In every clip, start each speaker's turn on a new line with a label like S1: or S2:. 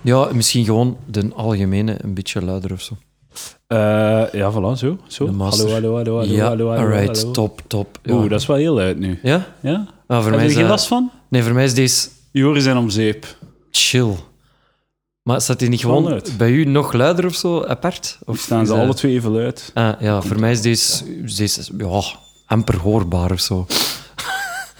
S1: Ja, misschien gewoon de algemene een beetje luider of zo.
S2: Eh, ja, voilà, zo. zo.
S1: De
S2: Hallo,
S1: master.
S2: hallo, hallo, hallo,
S1: ja,
S2: hallo, hallo,
S1: alright,
S2: hallo.
S1: top, top. Ja?
S2: Oeh, dat is wel heel luid nu.
S1: ja?
S2: Ja?
S1: Ah, voor
S2: Heb
S1: mij
S2: je
S1: is
S2: er geen
S1: dat-
S2: last van?
S1: Nee, voor mij is deze
S2: Je oren zijn om zeep.
S1: chill. Maar staat die niet gewoon
S2: Standaard.
S1: bij u nog luider of zo, apart? Of
S2: Of staan
S1: is
S2: ze
S1: dat-
S2: alle twee even luid?
S1: Ah, ja, voor mij is deze, deze ja, amper hoorbaar of zo.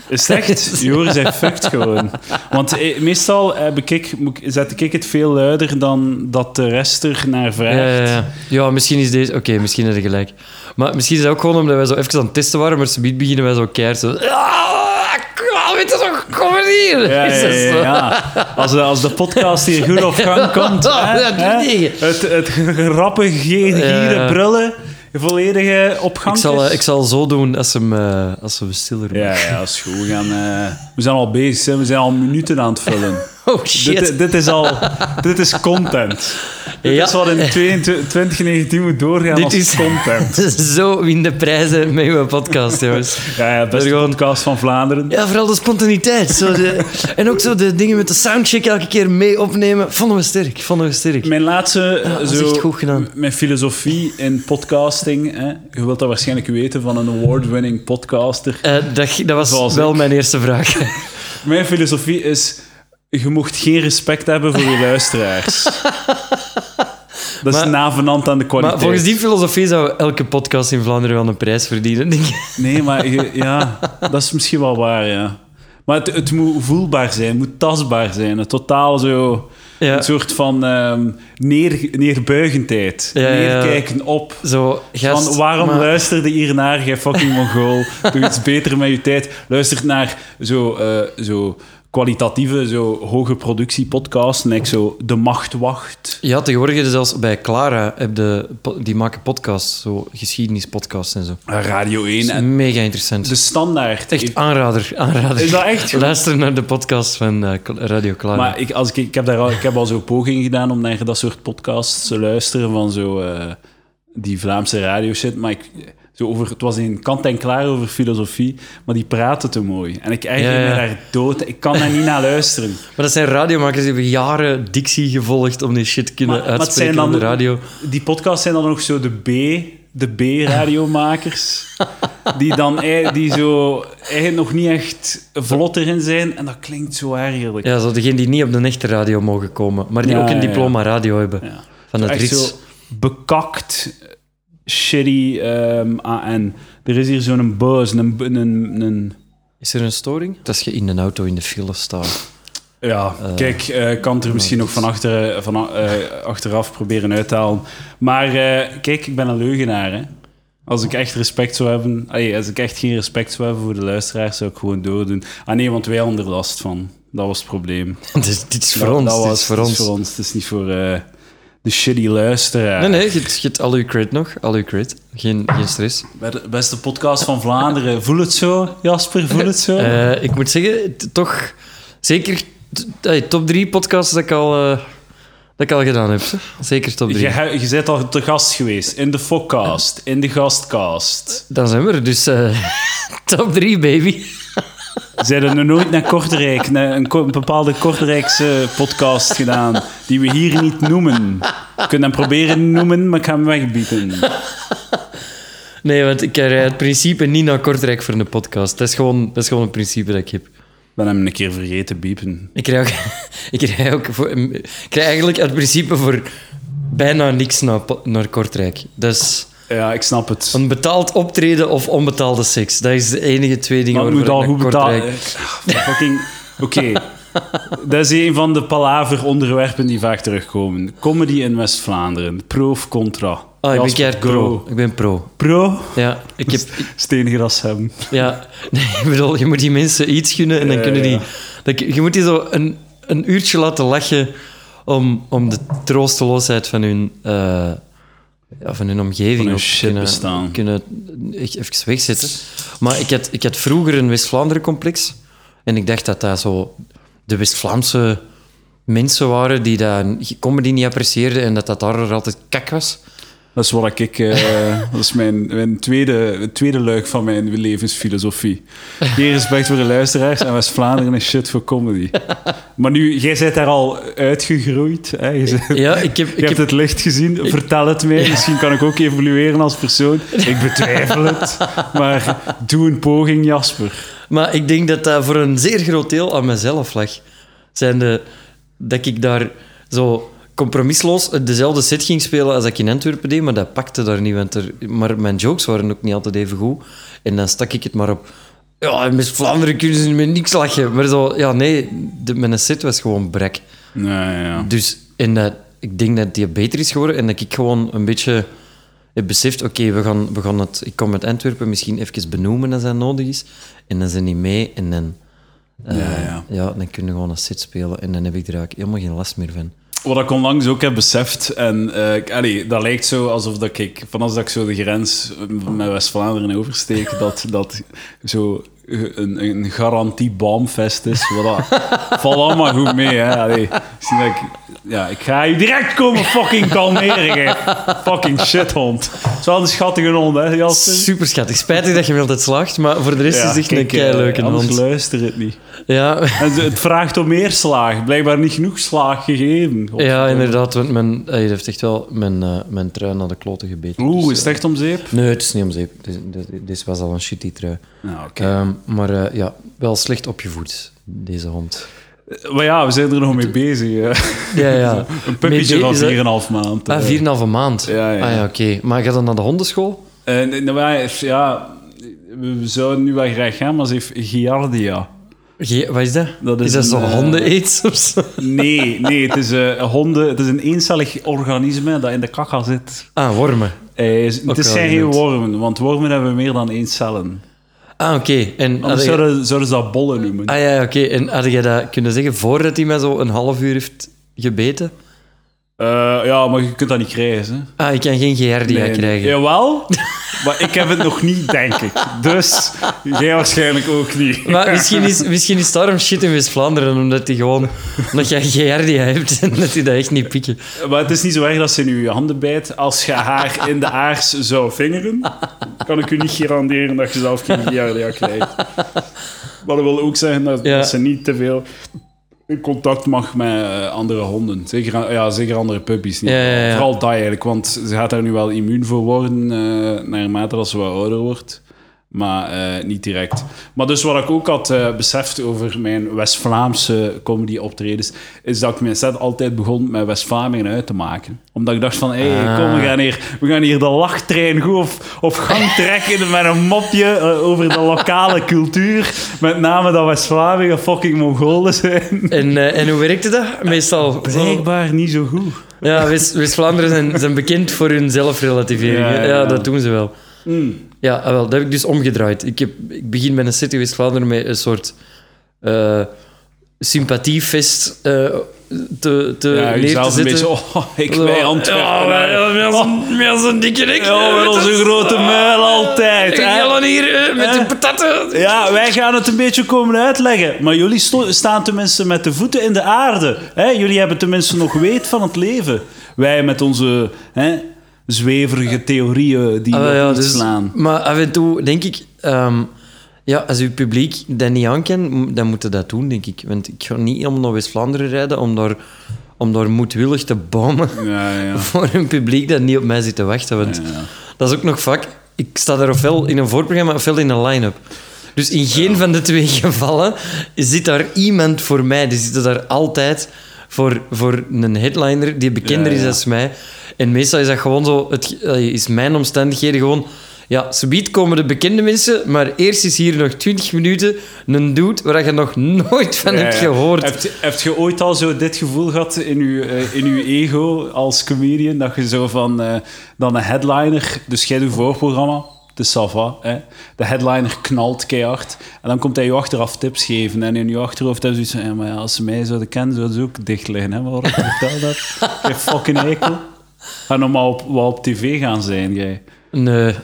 S2: Is het echt? Je oren zijn fucked gewoon. Want eh, meestal eh, bekijk- moet ik- zet ik het veel luider dan dat de rest er naar
S1: Ja, ja,
S2: vraagt.
S1: ja. ja, misschien is deze... Oké, misschien heb je gelijk. Maar misschien is dat ook gewoon omdat wij zo even aan het testen waren, maar ze beginnen wij zo keihard zo... Ah, kom, weet je toch, kom maar hier!
S2: Ja,
S1: Is
S2: ja,
S1: dat
S2: ja,
S1: zo?
S2: ja. Als, de, als de podcast hier goed op gang komt. hè,
S1: Ja, doe
S2: hè,
S1: tegen.
S2: het, het rappe ge- gieren,
S1: Ja.
S2: brullen, volledige opgang.
S1: Ik zal, eh, ik zal zo doen als, hem, eh, als we stiller
S2: Ja, ja, dat is goed. We, gaan, eh, we zijn al bezig, hè. we zijn al minuten aan het vullen.
S1: Oh, shit.
S2: Dit, dit is al dit is content. Dit
S1: Ja.
S2: is wat in 22 2019 moet doorgaan
S1: Dit
S2: als
S1: is-
S2: content.
S1: zo win de prijzen met uw podcast, jongens.
S2: Ja, ja beste
S1: gewoon-
S2: podcast van Vlaanderen.
S1: Ja, vooral de spontaniteit. Zo de, en ook zo de dingen met de soundcheck elke keer mee opnemen. Vonden we sterk, vonden we sterk.
S2: Mijn laatste, eh,
S1: dat is
S2: zo,
S1: echt goed gedaan.
S2: m- mijn filosofie in podcasting. Hè? Je wilt dat waarschijnlijk weten van een award-winning podcaster.
S1: Eh, dat, dat was
S2: Zoals
S1: wel mijn eerste vraag.
S2: Mijn filosofie is, je mocht geen respect hebben voor je luisteraars. Dat is
S1: Maar-
S2: navenant aan de kwaliteit.
S1: Maar volgens die filosofie zou elke podcast in Vlaanderen wel een prijs verdienen, denk ik.
S2: Nee, maar je- ja, dat is misschien wel waar, ja. Maar het, het moet voelbaar zijn, het moet tastbaar zijn. Een totaal zo...
S1: Ja.
S2: Een soort van ehm, neer, neerbuigendheid.
S1: Ja, ja, ja.
S2: Neerkijken op.
S1: Zo, gast,
S2: Van waarom
S1: maar-
S2: luisterde hiernaar, jij fucking mongool? Doe iets beter met je tijd. Luister naar zo, eh, zo kwalitatieve, zo hoge productiepodcasts. En ik zo De Macht Wacht.
S1: Ja, tegenwoordig is het zelfs bij Clara, heb de, po- die maken podcasts, zo geschiedenispodcasts en zo.
S2: Radio 1.
S1: Dat is
S2: En
S1: mega interessant.
S2: de standaard.
S1: Echt aanrader, aanrader.
S2: Is dat echt, joh?
S1: Luister naar de podcast van eh, Radio Clara.
S2: Maar ik, als ik, ik, heb daar al, ik heb al zo'n poging gedaan om naar dat soort podcasts te luisteren van zo eh, die Vlaamse radio shit. Maar ik, zo over, het was in kant en klaar over filosofie, maar die praten te mooi. En ik eigenlijk
S1: Ja, ja.
S2: me daar dood. Ik kan daar niet naar luisteren.
S1: Maar dat zijn radiomakers die hebben jaren dictie gevolgd om die shit te kunnen
S2: Maar, maar het
S1: uitspreken
S2: zijn dan
S1: op de radio.
S2: Die podcasts zijn dan nog zo de B, de B-radiomakers. die dan ei- die zo eigenlijk nog niet echt vlot erin zijn. En dat klinkt zo ergerlijk.
S1: Ja, zo degenen die niet op de echte radio mogen komen, maar die
S2: Ja,
S1: ook een
S2: ja, ja.
S1: diploma radio hebben.
S2: Ja.
S1: Van het
S2: echt
S1: Rits.
S2: zo bekakt, shitty ehm, AN. Er is hier zo'n buzz, een, bu- een, een...
S1: Is er een storing? Dat is je in een auto in de file staat.
S2: Ja, kijk, eh kan het er misschien nog van, achter, van eh, achteraf proberen uit te halen. Maar eh, kijk, ik ben een leugenaar, hè. Als ik echt respect zou hebben... allee, als ik echt geen respect zou hebben voor de luisteraars, zou ik gewoon doordoen. Ah nee, want wij hadden er last van. Dat was het probleem.
S1: dit, is- dit is voor
S2: dat,
S1: ons.
S2: dat
S1: dit
S2: was-
S1: is voor
S2: het
S1: ons.
S2: Het is niet voor eh, de shitty luisteraar.
S1: Nee, nee, je hebt- je hebt al uw credit nog. Al uw credit. Geen, geen stress.
S2: Bij de beste podcast van Vlaanderen. Voel het zo, Jasper, voel het zo.
S1: Eh, ik moet zeggen, t- toch zeker t- eh, top drie podcasts dat ik al, eh, dat ik al gedaan heb. hè. Zeker top drie.
S2: je, he- je bent al te gast geweest in de Fokcast, in de Gastcast.
S1: Dan zijn we er dus. eh, top drie, baby.
S2: Zijn er nog nooit naar Kortrijk, naar een, ko- een bepaalde Kortrijkse podcast gedaan, die we hier niet noemen? Je kunt hem proberen noemen, maar ik ga hem wegbieden.
S1: Nee, want ik rijd het principe niet naar Kortrijk voor een podcast. Dat is gewoon, dat is gewoon een principe dat ik heb.
S2: Ik ben hem een keer vergeten biepen.
S1: Ik krijg ook, ik rij ook voor, ik rij eigenlijk uit principe voor bijna niks naar, Po- naar Kortrijk. Dus
S2: Ja, ik snap het.
S1: een betaald optreden of onbetaalde seks. Dat is de enige twee dingen
S2: Maar het
S1: waarvoor
S2: moet al
S1: ik
S2: goed
S1: naar
S2: betalen.
S1: Kortrijk...
S2: Eh, Fucking... Oké. Dat is een van de palaver-onderwerpen die vaak terugkomen. Comedy in West-Vlaanderen. Pro of contra?
S1: Ah, ik ben
S2: Jasper,
S1: keihard
S2: go.
S1: pro. Ik ben pro.
S2: Pro?
S1: Ja, ik heb... ik-
S2: Steengras hebben.
S1: ja, nee, ik bedoel, je moet die mensen iets gunnen en dan
S2: Ja,
S1: kunnen die...
S2: ja.
S1: Dat, je moet die zo een, een uurtje laten lachen om, om de troosteloosheid van hun... eh, ja, van hun omgeving
S2: Van hun
S1: ook
S2: shit
S1: kunnen,
S2: bestaan.
S1: kunnen echt even wegzetten. Maar ik had, ik had vroeger een West-Vlaanderen-complex. En ik dacht dat dat zo de West-Vlaamse mensen waren die dat comedy niet apprecieerden en dat dat daar altijd kak was.
S2: Dat is wat ik. eh, dat is mijn, mijn tweede, het tweede luik van mijn levensfilosofie. Meer respect voor de luisteraars en West-Vlaanderen is shit voor comedy. Maar nu, jij bent daar al uitgegroeid. Hè? Je, bent-
S1: Ja, ik heb...
S2: je
S1: Ik
S2: hebt
S1: heb
S2: het licht gezien. Vertel het mij. Misschien kan ik ook evolueren als persoon. Ik betwijfel het. Maar doe een poging, Jasper.
S1: maar ik denk dat dat voor een zeer groot deel aan mezelf lag. Zijn de, dat ik daar zo compromisloos dezelfde set ging spelen als ik in Antwerpen deed, maar dat pakte daar niet. Want er, maar mijn jokes waren ook niet altijd even goed. En dan stak ik het maar op... Ja, in Vlaanderen kunnen ze met niks lachen. Maar zo... Ja, nee, de, mijn set was gewoon brek.
S2: Nou ja.
S1: Dus en dat, ik denk dat die beter is geworden en dat ik gewoon een beetje heb beseft, oké, we gaan, we gaan het, ik kom uit Antwerpen misschien even benoemen als dat nodig is. En dan zijn die mee en dan, eh,
S2: Ja,
S1: ja,
S2: ja.
S1: dan kunnen we gewoon een set spelen en dan heb ik er eigenlijk helemaal geen last meer van.
S2: Wat ik onlangs ook heb beseft, en eh, ik- allee, dat lijkt zo alsof dat ik, van als dat ik zo de grens met West-Vlaanderen oversteek, dat dat zo een, een garantie bomfest is. Voilà. Valt allemaal goed mee, hè. Allee, misschien dat ik, ja, ik ga je direct komen fucking kalmeren, hè. Fucking shithond. Het is wel een schattige hond, hè, Jasper?
S1: Super schattig, spijtig dat je wel altijd slaagt, maar voor de rest is het echt een
S2: kijk, eh,
S1: keileuke
S2: Anders
S1: hond.
S2: luister het niet.
S1: Ja,
S2: En het vraagt om meer slaag. Blijkbaar niet genoeg slaag gegeven.
S1: ja, inderdaad, want mijn, hij heeft echt wel mijn, eh, mijn trui naar de kloten gebeten.
S2: Oeh,
S1: Dus,
S2: is het echt om zeep?
S1: eh, Nee, het is niet om zeep. Dit- dit- Dit was al een shitty trui.
S2: Nou, oké.
S1: Ehm, maar eh, ja, wel slecht opgevoed, deze hond.
S2: Maar ja, we zijn er nog mee bezig. hè.
S1: Ja, ja.
S2: Een puppytje
S1: Mee-
S2: van
S1: is dat-
S2: 4,5 maand.
S1: Ah, vier en een halve maand.
S2: Ja, ja.
S1: Ah ja, oké. Maar gaat dan naar de hondenschool?
S2: Eh, nee, nou, wij- ja, we zouden nu wel graag gaan, maar ze heeft Giardia.
S1: Ge- wat is dat?
S2: Dat is
S1: is, dat
S2: een,
S1: zo'n
S2: eh,
S1: honden-aids of zo?
S2: Nee, nee, het is, eh, honden, het is een eencellig organisme dat in de kakka zit.
S1: Ah, wormen.
S2: Eh, is-
S1: Ook
S2: het
S1: wel
S2: zijn geen
S1: genoemd.
S2: wormen, want wormen hebben meer dan één cellen.
S1: Ah, oké. En had
S2: Anders
S1: je-
S2: zouden, zouden ze dat bollen noemen.
S1: Ah ja, ja, oké. En had je dat kunnen zeggen voordat hij mij zo een half uur heeft gebeten?
S2: Eh, ja, maar je kunt dat niet krijgen. Hè.
S1: Ah, ik kan geen Giardia
S2: Nee,
S1: krijgen.
S2: Jawel, maar ik heb het nog niet, denk ik. Dus jij waarschijnlijk ook niet.
S1: Maar misschien is, misschien is daarom shit in West-Vlaanderen, omdat hij gewoon... Omdat jij Giardia hebt en dat hij dat echt niet pikken.
S2: Maar het is niet zo erg dat ze in uw handen bijt. Als je haar in de aars zou vingeren, kan ik u niet garanderen dat je zelf geen diarrhea krijgt. Maar dat wil ook zeggen dat,
S1: Ja.
S2: dat ze niet te veel in contact mag met eh, andere honden. Zeker, aan- ja, zeker andere puppies. Niet.
S1: Ja, ja, ja.
S2: Vooral dat eigenlijk, want ze gaat daar nu wel immuun voor worden eh, naarmate dat ze wat ouder wordt. Maar eh, niet direct. Maar dus wat ik ook had eh, beseft over mijn West-Vlaamse comedy optredens, is dat ik mijn set altijd begon met West-Vlamingen uit te maken. Omdat ik dacht van, hé, hey,
S1: Ah.
S2: kom, we gaan, hier, we gaan hier de lachtrein goed op, op gang trekken met een mopje eh, over de lokale cultuur. Met name dat West-Vlamingen fucking Mongolen zijn.
S1: En, eh, en hoe werkte dat? Meestal...
S2: Blijkbaar niet zo goed.
S1: Ja, West- West-Vlaanderen zijn, zijn bekend voor hun zelfrelativering.
S2: Ja,
S1: Ja,
S2: ja, ja.
S1: dat doen ze wel.
S2: Mm.
S1: Ja, ah, wel, dat heb ik dus omgedraaid. Ik, heb, ik begin met een City West-Vlaanderen met een soort eh, sympathiefest eh, te, te
S2: Ja,
S1: neer te
S2: jezelf een
S1: zetten.
S2: beetje, oh, ik bij Antwerpen.
S1: Ja, wij- wij zijn- wij zijn dikke nek.
S2: Ja, met onze grote muil altijd,
S1: En
S2: hè?
S1: Jellen hier eh, met
S2: Eh?
S1: de patatten.
S2: Ja, wij gaan het een beetje komen uitleggen. Maar jullie sto- staan tenminste met de voeten in de aarde. Hè? Jullie hebben tenminste nog weet van het leven. Wij met onze hè, zweverige theorieën die
S1: Ah, wel,
S2: we
S1: ja, dus-
S2: slaan.
S1: Maar af en toe denk ik, ehm, ja, als uw publiek dat niet aan kan, m- dan moet je dat doen, denk ik. Want ik ga niet helemaal naar West-Vlaanderen rijden om daar, om daar moedwillig te bommen
S2: Ja, ja.
S1: voor een publiek dat niet op mij zit te wachten. Want
S2: Ja, ja.
S1: dat is ook nog vaak. Ik sta daar ofwel in een voorprogramma ofwel in een line-up. Dus in geen van de twee gevallen zit daar iemand voor mij. Die zitten daar altijd voor, voor een headliner die bekender
S2: Ja, ja.
S1: is dan mij. En meestal is dat gewoon zo... Het, eh, is mijn omstandigheden gewoon... Ja, subiet komen de bekende mensen, maar eerst is hier nog 20 minuten een dude waar je nog nooit van hebt
S2: Ja, ja.
S1: gehoord.
S2: Hebt, hebt je ooit al zo dit gevoel gehad in uw, eh, in uw ego als comedian? Dat je zo van eh, dan een headliner, dus jij doet voorprogramma, de Sava, hè? de headliner knalt keihard. En dan komt hij je achteraf tips geven. En in je achterhoofd heb je zoiets van: ja, maar ja, als ze mij zouden kennen, zouden ze ook dicht liggen. Hè? Maar waarom vertel dat? Je fucking eikel. Ga nog maar op, wel op tv gaan zijn, jij.
S1: Nee.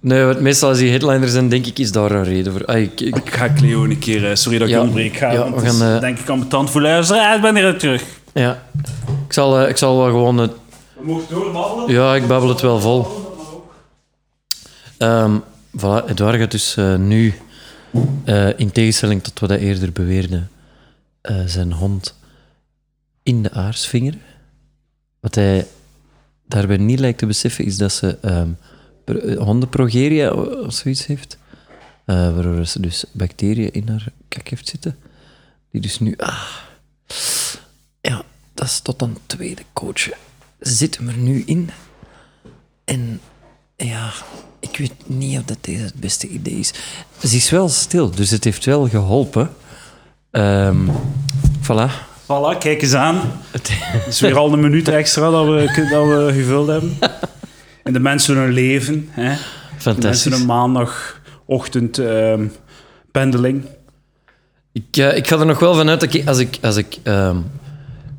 S1: Nee, want meestal als die headliners zijn, denk ik, is daar een reden voor. Ah, ik- ik,
S2: Ik ga Cleo een keer, eh, sorry dat ik
S1: Ja.
S2: onderbreek. Ga,
S1: Ja,
S2: want
S1: we
S2: het is,
S1: gaan, eh,
S2: denk ik aan mijn tand voor luisteren. Ah, ik ben er terug.
S1: Ja. Ik zal, eh, ik zal wel gewoon het,
S2: mocht doorbabbelen.
S1: Ja, ik babbel het wel vol. Ehm voilà, Edouard gaat dus eh, nu, eh, in tegenstelling tot wat hij eerder beweerde, eh, zijn hond in de aarsvinger. Wat hij daarbij niet lijkt te beseffen, is dat ze ehm pro- eh, hondenprogeria o- of zoiets heeft. eh, waardoor ze dus bacteriën in haar kak heeft zitten. Die dus nu... Ah, ja, dat is tot een tweede coach. Zit hem er nu in. En ja, ik weet niet of dat deze het beste idee is. Ze is wel stil, dus het heeft wel geholpen. Ehm voilà.
S2: Voilà, kijk eens aan.
S1: Het-
S2: Het is weer al een minuut extra dat we, dat we gevuld hebben. En de mensen hun leven. Hè? De mensen
S1: Fantastisch.
S2: een maandagochtend ehm, pendeling.
S1: Ik, eh, ik ga er nog wel vanuit dat ik, als ik, als ik ehm,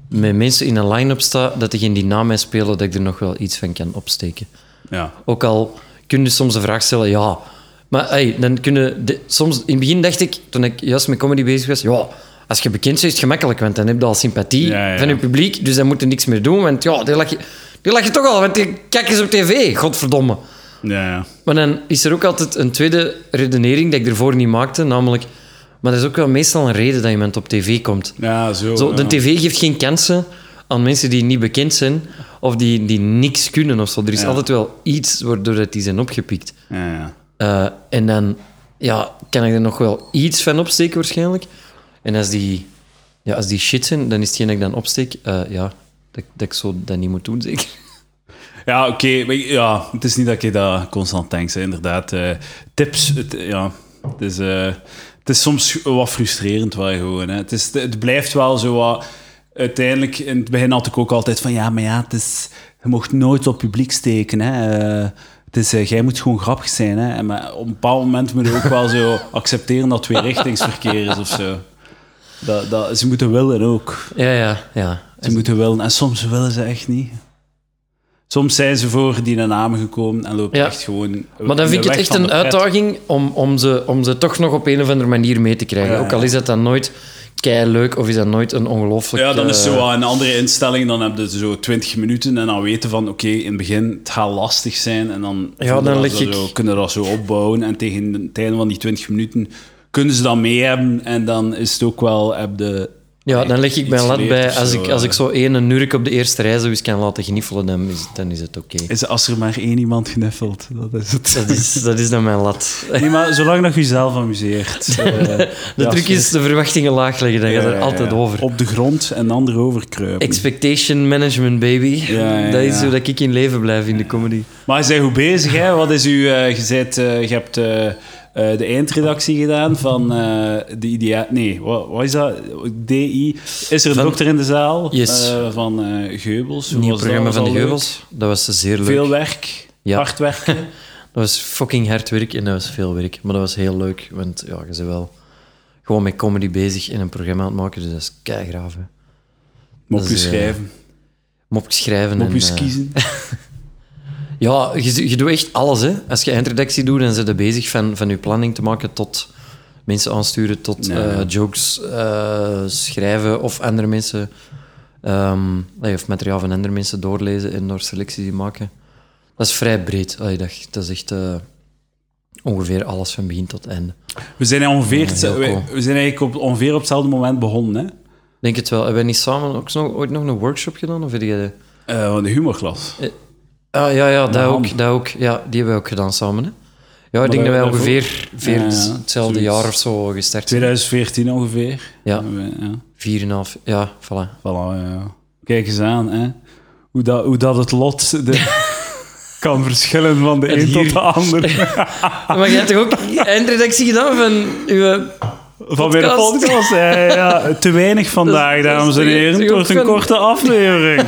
S1: met mensen in een line-up sta, dat degenen die na mij spelen, dat ik er nog wel iets van kan opsteken.
S2: Ja.
S1: Ook al kun je soms de vraag stellen, ja. Maar hey, dan kunnen de- soms, in het begin dacht ik, toen ik juist met comedy bezig was, ja, als je bekend bent, is het gemakkelijk, want dan heb je al sympathie
S2: Ja, ja.
S1: van je publiek, dus dan moet je niks meer doen, want ja, die lach je, die lach je toch al, want die kijk eens op tv, godverdomme.
S2: Ja, ja.
S1: Maar dan is er ook altijd een tweede redenering dat ik ervoor niet maakte, namelijk, maar dat is ook wel meestal een reden dat iemand op tv komt.
S2: ja zo.
S1: Zo,
S2: ja.
S1: de tv geeft geen kansen aan mensen die niet bekend zijn of die, die niks kunnen of zo. Er is
S2: Ja.
S1: altijd wel iets waardoor dat die zijn opgepikt.
S2: Ja, ja.
S1: Eh, en dan ja, kan ik er nog wel iets van opsteken waarschijnlijk. En als die, ja, als die shit zijn, dan is hetgeen dat ik dan opsteek, eh, ja, dat, dat ik zo dat niet moet doen, zeker.
S2: Ja, oké. maar ik- Ja, het is niet dat je dat constant denkt, hè, inderdaad. Eh, tips, het, ja. Het is, eh, het is soms wat frustrerend wel gewoon. Hè. Het, is, het blijft wel zo wat... Uiteindelijk, in het begin had ik ook altijd van... Ja, maar ja, het is, je mocht nooit op publiek steken, hè. Eh, het is, eh, jij moet gewoon grappig zijn, hè. En maar op een bepaald moment moet je ook wel zo accepteren dat het weer richtingsverkeer is of zo. Dat, dat, ze moeten willen ook.
S1: Ja, ja, ja.
S2: Ze moeten willen. En soms willen ze echt niet. Soms zijn ze voor die naam gekomen en lopen
S1: Ja.
S2: echt gewoon.
S1: Maar dan vind ik het
S2: de weg
S1: echt
S2: van
S1: een
S2: de pret.
S1: uitdaging om, om, ze, om ze toch nog op een of andere manier mee te krijgen.
S2: Ja, ja.
S1: Ook al is dat dan nooit kei leuk of is dat nooit een ongelooflijk.
S2: Ja, dan is
S1: eh,
S2: zo aan een andere instelling. Dan heb je zo 20 minuten en dan weten van oké, in het begin het gaat lastig zijn. En dan,
S1: Ja, dan lig
S2: ze
S1: ik-
S2: zo, kunnen dat zo opbouwen. En tegen het einde van die 20 minuten kunnen ze dat mee hebben. En dan is het ook wel. Heb de,
S1: Ja, dan leg ik
S2: iets
S1: mijn lat
S2: geleerd
S1: bij.
S2: of
S1: Als
S2: zo,
S1: ik, als
S2: eh.
S1: ik zo één een nurk op de eerste rij zo eens kan laten gniffelen, dan is, dan is het oké.
S2: Is als er maar één iemand gniffelt, dat is het.
S1: Dat, is, dat is dan mijn lat.
S2: Nee, maar zolang dat je jezelf amuseert. eh, De
S1: De truc is de verwachtingen laag leggen, dan gaat er altijd over.
S2: Eh, Op de grond en de ander overkruipen.
S1: Expectation management, baby.
S2: Ja, ja,
S1: Dat is
S2: ja.
S1: hoe dat ik in leven blijf in de comedy.
S2: maar je bent goed bezig, hè? Wat is uw... eh, je, bent, eh, je hebt eh, eh, de eindredactie gedaan van eh, de idea... Nee, wat, wat is dat? DI? Is er een
S1: Van-
S2: dokter in de zaal?
S1: Yes.
S2: Eh, van eh, Geubels. Hoe
S1: Nieuw
S2: was dat?
S1: programma
S2: Was
S1: van de
S2: dat leuk?
S1: Geubels. Dat was zeer leuk.
S2: Veel werk.
S1: Ja.
S2: Hard werken.
S1: Dat was fucking hard werk en dat was veel werk. Maar dat was heel leuk, want ja, je bent wel gewoon met comedy bezig en een programma aan het maken, dus dat is keigraaf. hè. Dat
S2: Mopjes
S1: is, eh,
S2: schrijven.
S1: Mopjes schrijven. en,
S2: Mopjes
S1: eh,
S2: kiezen.
S1: ja, je, je doet echt alles. Hè. Als je eindredactie doet, dan zit je bezig van, van je planning te maken tot mensen aansturen, tot
S2: Ja.
S1: eh, jokes eh, schrijven of andere mensen... ehm, allee, of materiaal van andere mensen doorlezen en door selecties die maken. Dat is vrij breed. Allee, dat, dat is echt eh, ongeveer alles van begin tot einde.
S2: We zijn, ongeveer,
S1: Ja, heel
S2: we,
S1: cool.
S2: we zijn eigenlijk op, ongeveer op hetzelfde moment begonnen, hè?
S1: Denk het wel. Hebben wij niet samen ook nog, ooit nog een workshop gedaan? Of heb je...
S2: Eh, van de humorklas.
S1: Ah, ja, ja, dat
S2: Ham.
S1: ook, dat ook. Ja, die hebben we ook gedaan samen. Hè? Ja, ik denk
S2: dat-
S1: dat wij
S2: dat
S1: ongeveer veer-
S2: Ja, ja,
S1: hetzelfde
S2: zoiets.
S1: jaar of zo gestart zijn.
S2: 2014 ongeveer.
S1: Ja,
S2: ja.
S1: 4,5. Ja, voilà.
S2: Voilà, ja. Kijk eens aan, hè. Hoe dat, hoe dat het lot de- kan verschillen van de
S1: En
S2: een tot
S1: hier-
S2: de ander.
S1: Ah, Maar jij hebt toch ook eindredactie gedaan van uw...
S2: Van weer een
S1: podcast.
S2: podcast. Ja, ja, ja. Te weinig vandaag,
S1: Dat is- dat
S2: dames
S1: is
S2: en
S1: toch-
S2: heren.
S1: toch
S2: Het wordt
S1: ook
S2: een
S1: van-
S2: korte aflevering.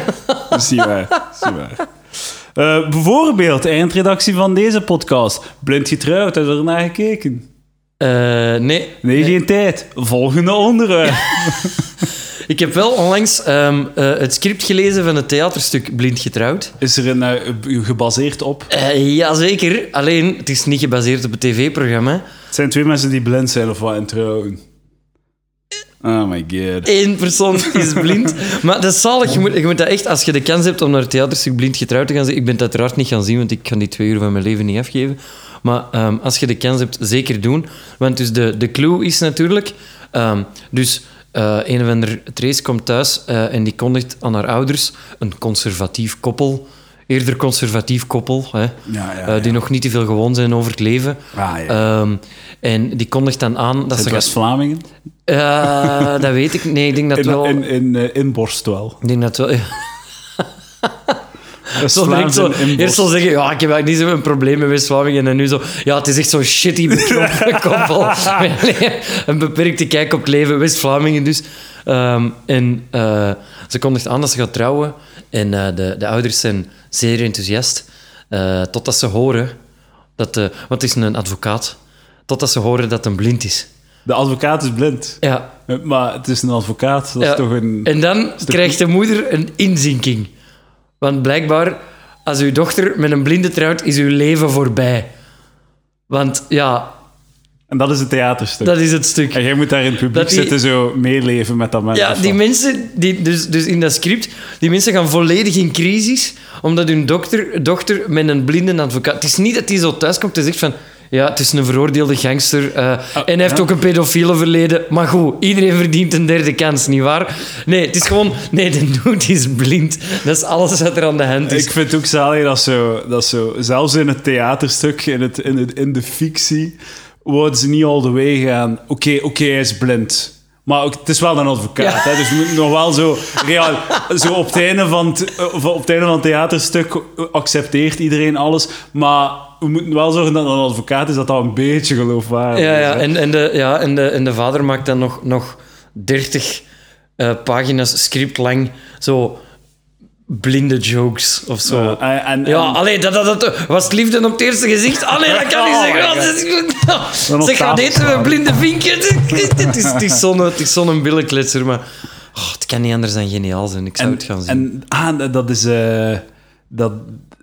S2: Dat is niet waar. dat is niet waar. Eh, bijvoorbeeld, de eindredactie van deze podcast. Blind getrouwd, hebben we ernaar gekeken?
S1: Eh, nee,
S2: Nee, geen tijd. Volgende onderwerp.
S1: ik heb wel onlangs ehm, eh, het script gelezen van het theaterstuk Blind Getrouwd.
S2: Is er een eh, gebaseerd op?
S1: Eh jazeker, alleen het is niet gebaseerd op het tv-programma.
S2: Het zijn twee mensen die blind zijn of wat en trouwen. Oh my god.
S1: Eén persoon is blind. Maar dat is zalig. Je moet, je moet dat echt, als je de kans hebt om naar het theaterstuk blind getrouwd te gaan zien. Ik ben het uiteraard niet gaan zien, want ik kan die twee uur van mijn leven niet afgeven. Maar ehm, als je de kans hebt, zeker doen. Want dus de, de clue is natuurlijk. ehm, dus eh, een of ander Trace komt thuis eh, en die kondigt aan haar ouders een conservatief koppel. Eerder conservatief koppel, hè,
S2: Ja, ja,
S1: eh, die nog niet te veel gewoon zijn over het leven.
S2: Ah, ja.
S1: Ehm, en die kondigt dan aan dat
S2: Is
S1: ze
S2: het
S1: gaat
S2: West-Vlamingen?
S1: eh, dat weet ik. Nee, ik denk dat
S2: In,
S1: wel.
S2: in, in, eh, inborst wel.
S1: Ik denk dat wel. Ja. Zo direct
S2: West-Vlaams
S1: zo,
S2: in
S1: eerst
S2: inborst.
S1: zo zeggen, ja, ik heb eigenlijk niet zo'n probleem met West-Vlamingen. En nu zo, ja, het is echt zo'n shitty beknopen koppel. Met alleen een beperkte kijk op het leven, West-Vlamingen dus. Ehm, en eh, ze kondigt aan dat ze gaat trouwen. En eh, de, de ouders zijn zeer enthousiast. eh, totdat ze horen dat... de want het is een advocaat. Totdat ze horen dat een blind is.
S2: De advocaat is blind.
S1: Ja,
S2: Eh, Maar het is een advocaat. Dat is
S1: Ja.
S2: toch een...
S1: En dan krijgt de moeder een inzinking. Want blijkbaar, als uw dochter met een blinde trouwt, is uw leven voorbij. Want ja,
S2: En dat is het theaterstuk.
S1: dat is het stuk.
S2: En jij moet daar in het publiek
S1: Dat die-
S2: zitten, zo meeleven met dat mens.
S1: Ja,
S2: of
S1: die
S2: wat.
S1: mensen, die, dus, dus in dat script, die mensen gaan volledig in crisis, omdat hun dokter, dochter met een blinde advocaat... Het is niet dat hij zo thuis komt en zegt van... Ja, het is een veroordeelde gangster. eh, en hij heeft
S2: Ah, ja.
S1: ook een pedofiele verleden. Maar goed, iedereen verdient een derde kans, nietwaar? Nee, het is gewoon... Nee, de dude is blind. Dat is alles wat er aan de hand is.
S2: Ik vind het ook zalig dat zo, dat zo, zelfs in het theaterstuk, in, het, in, het, in de fictie, worden ze niet all the way gaan. Oké, oké, hij is blind. Maar ook, het is wel een advocaat,
S1: Ja.
S2: hè, dus we moeten nog wel zo... Real, zo op, het einde van het, eh, op het einde van het theaterstuk accepteert iedereen alles, maar we moeten wel zorgen dat het een advocaat is, dat dat een beetje geloofwaardig
S1: Ja,
S2: is.
S1: ja.
S2: hè.
S1: En, en, de, ja en, de, en de vader maakt dan nog, nog 30 eh, pagina's script lang zo blinde jokes of zo.
S2: Ja, Eh, en- en-
S1: ja,
S2: en-
S1: allee, dat, dat, dat was het liefde op het eerste gezicht. Allee, dat kan niet
S2: Oh
S1: zeggen.
S2: my
S1: Oh, dat is
S2: Dan op
S1: zeg, wat
S2: tafel
S1: eten we?
S2: slaan.
S1: Blinde vinkje? Het is, het is zo'n het is zo'n billenkletser, maar... oh, het kan niet anders dan geniaal zijn. Ik zou het gaan zien.
S2: En ah, dat is... eh, dat,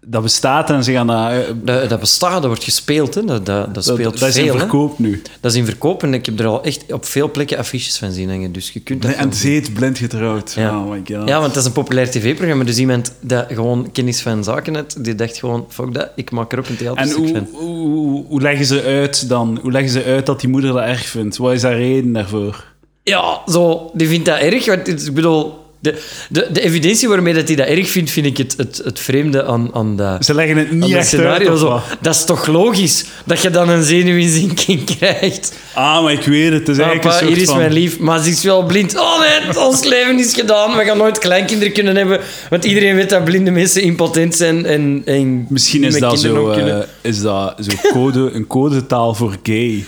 S2: dat bestaat en ze gaan dat... eh,
S1: dat, dat bestaat, dat wordt gespeeld. Hè. Dat, dat, dat
S2: Dat,
S1: speelt
S2: dat is in
S1: veel. hè.
S2: verkoop nu.
S1: dat is in verkoop en ik heb er al echt op veel plekken affiches van zien hangen. Dus je kunt dat
S2: En
S1: gewoon
S2: het heet Blind Getrouwd.
S1: Ja.
S2: Oh my god.
S1: Ja, want dat is een populair tv-programma. Dus iemand dat gewoon kennis van zaken had, die dacht gewoon, fuck dat, ik maak er ook een
S2: En
S1: theaterstuk
S2: hoe,
S1: van.
S2: hoe, hoe leggen ze uit dan? Hoe leggen ze uit dat die moeder dat erg vindt? Wat is haar reden daarvoor?
S1: Ja, zo, die vindt dat erg. Want het- ik bedoel, de, de, de evidentie waarmee dat hij dat erg vindt, vind ik het, het, het vreemde aan, aan dat...
S2: Ze leggen het
S1: aan
S2: niet
S1: dat
S2: echt uit. of
S1: zo.
S2: wat?
S1: Dat is toch logisch dat je dan een zenuwinzinking krijgt?
S2: Ah, maar ik weet het. Het is eigenlijk
S1: Papa,
S2: een soort
S1: hier is
S2: van...
S1: mijn lief, maar ze is wel blind. Oh nee, ons leven is gedaan. We gaan nooit kleinkinderen kunnen hebben. Want iedereen weet dat blinde mensen impotent zijn en, en
S2: Misschien
S1: niet
S2: is
S1: met
S2: dat,
S1: kinderen
S2: zo,
S1: ook kunnen.
S2: eh, is dat zo code, een codetaal voor gay.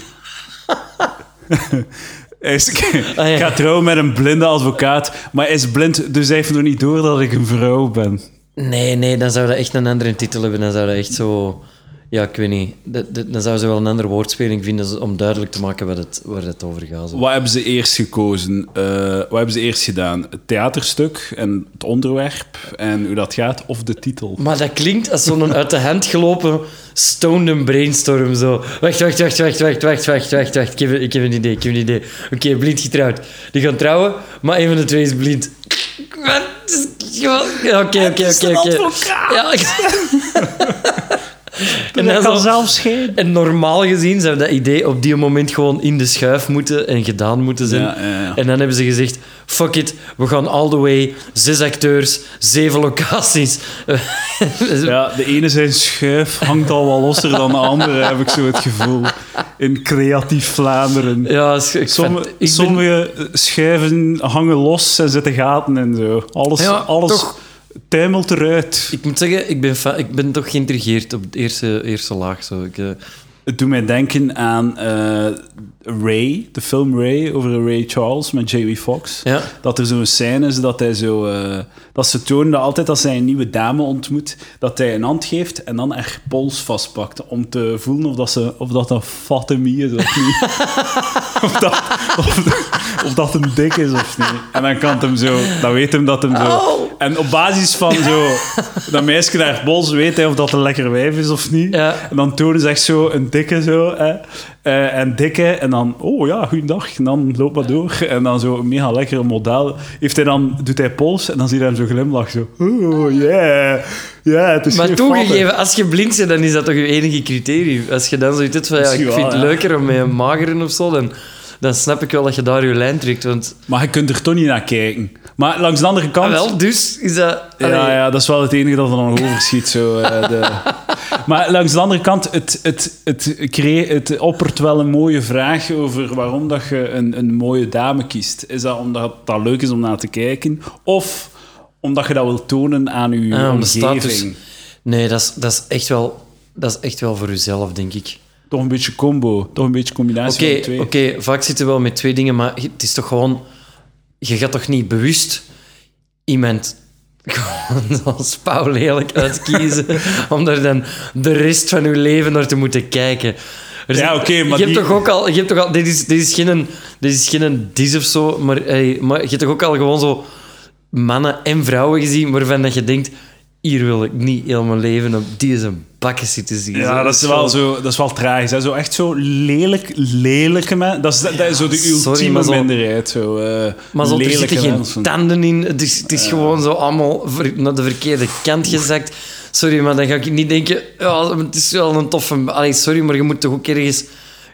S2: Hij is-
S1: Ah, ja.
S2: Ik ga trouwen met een blinde advocaat, maar hij is blind, dus hij heeft nog niet door dat ik een vrouw ben.
S1: Nee, nee, dan zou dat echt een andere titel hebben. Dan zou dat echt zo... Ja, ik weet niet. Dat- dat- dan zou ze wel een andere woordspeling vinden z- dus om duidelijk te maken waar het, waar het over gaat. zo.
S2: Wat hebben ze eerst gekozen? Eh, wat hebben ze eerst gedaan? Het theaterstuk en het onderwerp en hoe dat gaat, of de titel?
S1: Maar dat klinkt als zo'n uit de hand gelopen stoned and brainstorm. Zo. Wacht, wacht, wacht, wacht, wacht, wacht, wacht, wacht, wacht. Ik heb, ik heb een idee, ik heb een idee. Oké, blind getrouwd. Die gaan trouwen, maar een van de twee is blind. Wat? Het is gewoon- Oké, oké, oké.
S2: is een
S1: oké.
S2: advocaat.
S1: Ja, ik- En dan zo-
S2: schelen.
S1: En normaal gezien zou dat idee op die moment gewoon in de schuif moeten en gedaan moeten zijn.
S2: Ja, ja, ja.
S1: En dan hebben ze gezegd, fuck it, we gaan all the way. Zes acteurs, zeven locaties.
S2: Ja, de ene zijn schuif hangt al wel losser dan de andere, heb ik zo het gevoel. In creatief Vlaanderen.
S1: Ja, is- ik
S2: Somm-
S1: vind- ik ben-
S2: sommige schuiven hangen los en zitten gaten en zo. Alles,
S1: Ja,
S2: alles
S1: toch.
S2: tuimelt eruit.
S1: Ik moet zeggen, ik ben, fa- ik ben toch geïntrigeerd op de eerste, eerste laag. Zo. Ik, eh,
S2: Het doet mij denken aan eh, Ray, de film Ray over Ray Charles met Jamie Foxx.
S1: Ja.
S2: Dat er zo'n scène is dat hij zo. eh, dat ze tonen dat altijd als hij een nieuwe dame ontmoet, dat hij een hand geeft en dan haar pols vastpakt. Om te voelen of dat, ze, of dat een fatemie is of niet. of dat, of, of dat hem dik is of niet. En dan kan het hem zo, dan weet hem dat hem zo.
S1: Au.
S2: En op basis van zo, dat meisje daar het bos, weet hij of dat een lekker wijf is of niet.
S1: Ja.
S2: En dan tonen ze echt zo een dikke zo, hè. Eh, en dikke, en dan, oh ja, goeiedag, en dan loop maar door. En dan zo een mega lekker model. Heeft hij dan, doet hij pols, en dan ziet hij hem zo glimlach zo, oh yeah, ja, het is
S1: Maar
S2: hier fattig.
S1: toegegeven, als je blind bent, dan is dat toch je enige criterium. Als je dan zoiets hebt van, ja, ik
S2: Misschien
S1: vind
S2: wel,
S1: het
S2: ja.
S1: leuker om met een mageren of zo, dan, dan snap ik wel dat je daar je lijn trekt. Want
S2: Maar je kunt er toch niet naar kijken. Maar langs de andere
S1: ah,
S2: kant...
S1: wel, dus is dat...
S2: Ja,
S1: allee,
S2: ja, dat is wel het enige dat er dan nog overschiet. Zo, eh, de... Maar langs de andere kant, het, het, het, creë- het oppert wel een mooie vraag over waarom dat je een, een mooie dame kiest. Is dat omdat dat leuk is om naar te kijken? Of omdat je dat wil tonen aan je
S1: Ah, om de
S2: omgeving?
S1: status. Nee, dat is, dat, is echt wel, dat is echt wel voor jezelf, denk ik.
S2: Toch een beetje combo, toch een beetje combinatie van de
S1: Oké,
S2: twee.
S1: oké, vaak zitten we wel met twee dingen, maar het is toch gewoon... Je gaat toch niet bewust iemand gewoon als pauw lelijk uitkiezen om daar dan de rest van je leven naar te moeten kijken. Er
S2: Ja,
S1: zit-
S2: oké, maar
S1: Je hebt
S2: die-
S1: toch ook al... Je hebt toch al dit, is, dit is geen... een- Dit is geen een dis of zo, maar, hey, maar je hebt toch ook al gewoon zo mannen en vrouwen gezien waarvan dat je denkt... Hier wil ik niet heel mijn leven op die zijn bakken zitten zien.
S2: Ja, dat is wel, zo, dat is wel tragisch. Hè? Zo echt zo lelijk, lelijke mensen. Dat is, dat is zo de
S1: sorry,
S2: ultieme
S1: maar zo-
S2: minderheid. Zo, eh,
S1: Maar zo, er
S2: lelijke
S1: zitten geen
S2: mensen. Eh.
S1: tanden in. Het is, het is gewoon zo allemaal ver- naar de verkeerde kant gezakt. Sorry, maar dan ga ik niet denken... Ja, het is wel een toffe... Allee, sorry, maar je moet toch ook ergens...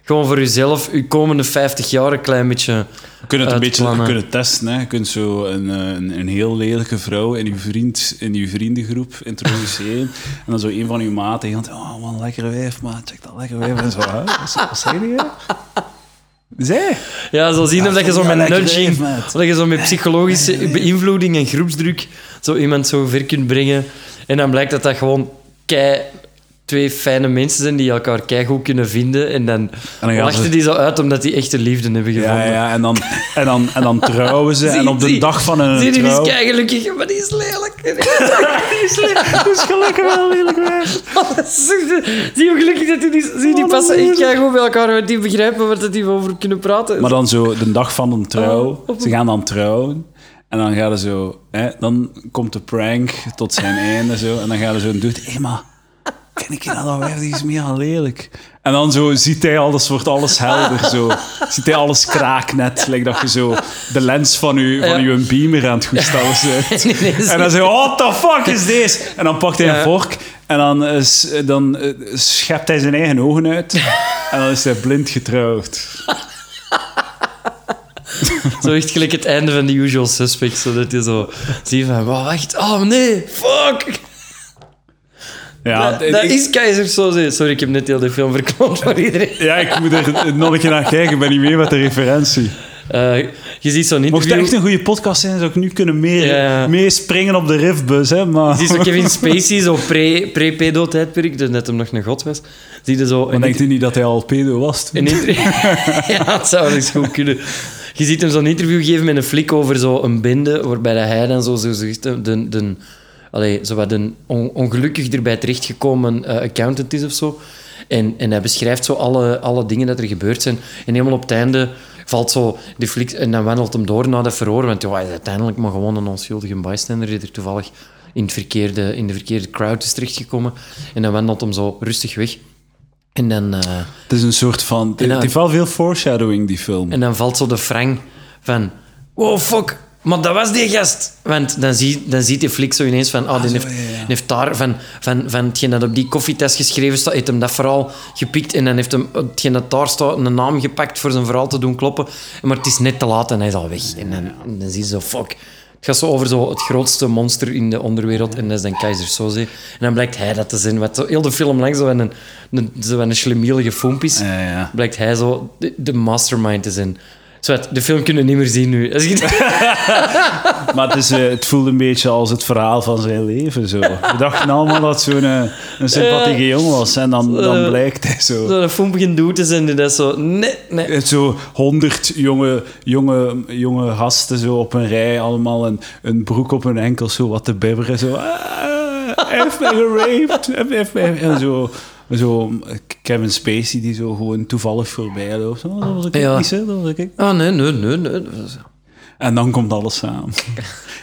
S1: Gewoon voor jezelf, je komende 50 jaar een klein beetje...
S2: Je kunt het een beetje
S1: uitplannen.
S2: je kunt het testen. Hè. Je kunt zo een, eh, een, een heel lelijke vrouw in je, vriend, in je vriendengroep introduceren. en dan zo een van je maten. En je gaat, oh man, lekkere wijf, man. Check dat lekkere wijf. En zo, hè. Wat, wat zei die? hè? Zij?
S1: Ja, zo zien
S2: Ja,
S1: of dat je zo
S2: ja,
S1: met
S2: lekker
S1: nudging...
S2: leef, maat.
S1: Dat je zo met psychologische beïnvloeding en groepsdruk... Zo iemand zo ver kunt brengen. En dan blijkt dat dat gewoon kei... Twee fijne mensen zijn die elkaar keigoed kunnen vinden. En dan,
S2: gaan ze-
S1: lachten die zo uit omdat die echte liefde hebben gevonden.
S2: Ja, ja, en dan, en dan, en dan trouwen ze. en op de dag van hun
S1: Zie, die is
S2: trouw...
S1: keigelukkig, maar die is lelijk.
S2: Dat is gelukkig wel lelijk wijf.
S1: Zie hoe gelukkig dat die is. Zie, die
S2: Oh,
S1: passen
S2: dat
S1: echt
S2: is-
S1: keigoed bij elkaar, want die begrijpen waar dat die over kunnen praten.
S2: Maar dan zo de dag van een trouw.
S1: Oh, op-
S2: Ze gaan dan trouwen. En dan gaan ze zo... Hè, dan komt de prank tot zijn einde. Zo, en dan gaan ze zo en doet... Hé, maar... Ken ik je nou dat wijf? Die is mega lelijk. En dan zo ziet hij alles, wordt alles helder. Zo. Ziet hij alles kraaknet. Lijkt dat je zo de lens van je, van
S1: Ja.
S2: uw beamer aan het goedstellen bent.
S1: Ineens-
S2: En dan zo, what the fuck is deze? En dan pakt hij een
S1: Ja.
S2: vork en dan, eh, s- dan eh, schept hij zijn eigen ogen uit. En dan is hij blind getrouwd.
S1: Zo echt gelijk het einde van The Usual Suspects. Zodat je zo ziet van, wow, wacht, oh nee, fuck.
S2: Ja,
S1: dat
S2: ik-
S1: dat
S2: ik-
S1: is keizer zo. Sorry, ik heb net heel de film verkloot voor iedereen.
S2: ja, ik moet er nog een keer naar kijken. Ik ben niet meer met de referentie.
S1: Eh, je ziet zo'n
S2: Mocht het
S1: interview...
S2: echt een goede podcast zijn, zou ik nu kunnen meer,
S1: Ja.
S2: meespringen op de riffbus. Hè, maar...
S1: Zie je zo Kevin Spacey, zo pre- pre-pedo-tijdperk, dus net hem nog een god was. Zie je zo...
S2: Maar
S1: een
S2: denkt u niet dat hij al pedo was? toen?
S1: Een inter- ja, dat zou wel eens goed kunnen. Je ziet hem zo'n interview geven met een flik over zo'n bende, waarbij dat hij dan zo, zo, zo de, de, de, allee, zo wat een on- ongelukkig erbij terechtgekomen eh, accountant is of zo. En, en hij beschrijft zo alle, alle dingen dat er gebeurd zijn. En helemaal op het einde valt zo die flik en dan wandelt hem door naar dat verhoor. Want ja, hij is uiteindelijk maar gewoon een onschuldige bystander die er toevallig in, het verkeerde, in de verkeerde crowd is terechtgekomen. En dan wandelt hem zo rustig weg. En dan... eh,
S2: Het is een soort van... Het
S1: Ja.
S2: heeft wel veel foreshadowing, die film.
S1: en dan valt zo de frang van... Wow, fuck. Maar dat was die gast. Want dan, zie, dan ziet die flik zo ineens van... Oh, die heeft,
S2: Ah, ja, ja.
S1: die heeft daar van, van, van hetgeen dat op die koffietest geschreven staat... heeft hem dat verhaal gepikt. En dan heeft hem eh, hetgeen dat daar staat een naam gepakt voor zijn verhaal te doen kloppen. Maar het is net te laat en hij is al weg. En dan, en dan zie je zo... Fuck. Het gaat zo over zo het grootste monster in de onderwereld. En dat is dan Keizer Soze. En dan blijkt hij dat te zijn. Wat zo heel de film lang zo een, een, zo een schlemielige foamp is
S2: Ja, ja.
S1: blijkt hij zo de, de mastermind te zijn. Zwet, de film kunnen we niet meer zien nu. Als ik-
S2: Maar het, is, eh, het voelde een beetje als het verhaal van zijn leven. Zo. We dachten allemaal dat zo'n eh, een sympathieke jongen was. En dan, dan
S1: Eh,
S2: blijkt hij zo...
S1: Zo een film begint doet te zijn, die dat zo... Nee, nee.
S2: Het Eh, zo honderd jonge, jonge, jonge gasten zo op een rij, allemaal een, een broek op hun enkel, zo wat te bibberen. Zo, ah, hij heeft mij geraped. hij heeft mij- En zo, zo Kevin Spacey die zo gewoon toevallig voorbij loopt. Oh, dat was ik
S1: Ja.
S2: niet, hè, dat was ik.
S1: Ah, nee, nee, nee, nee.
S2: En dan komt alles samen.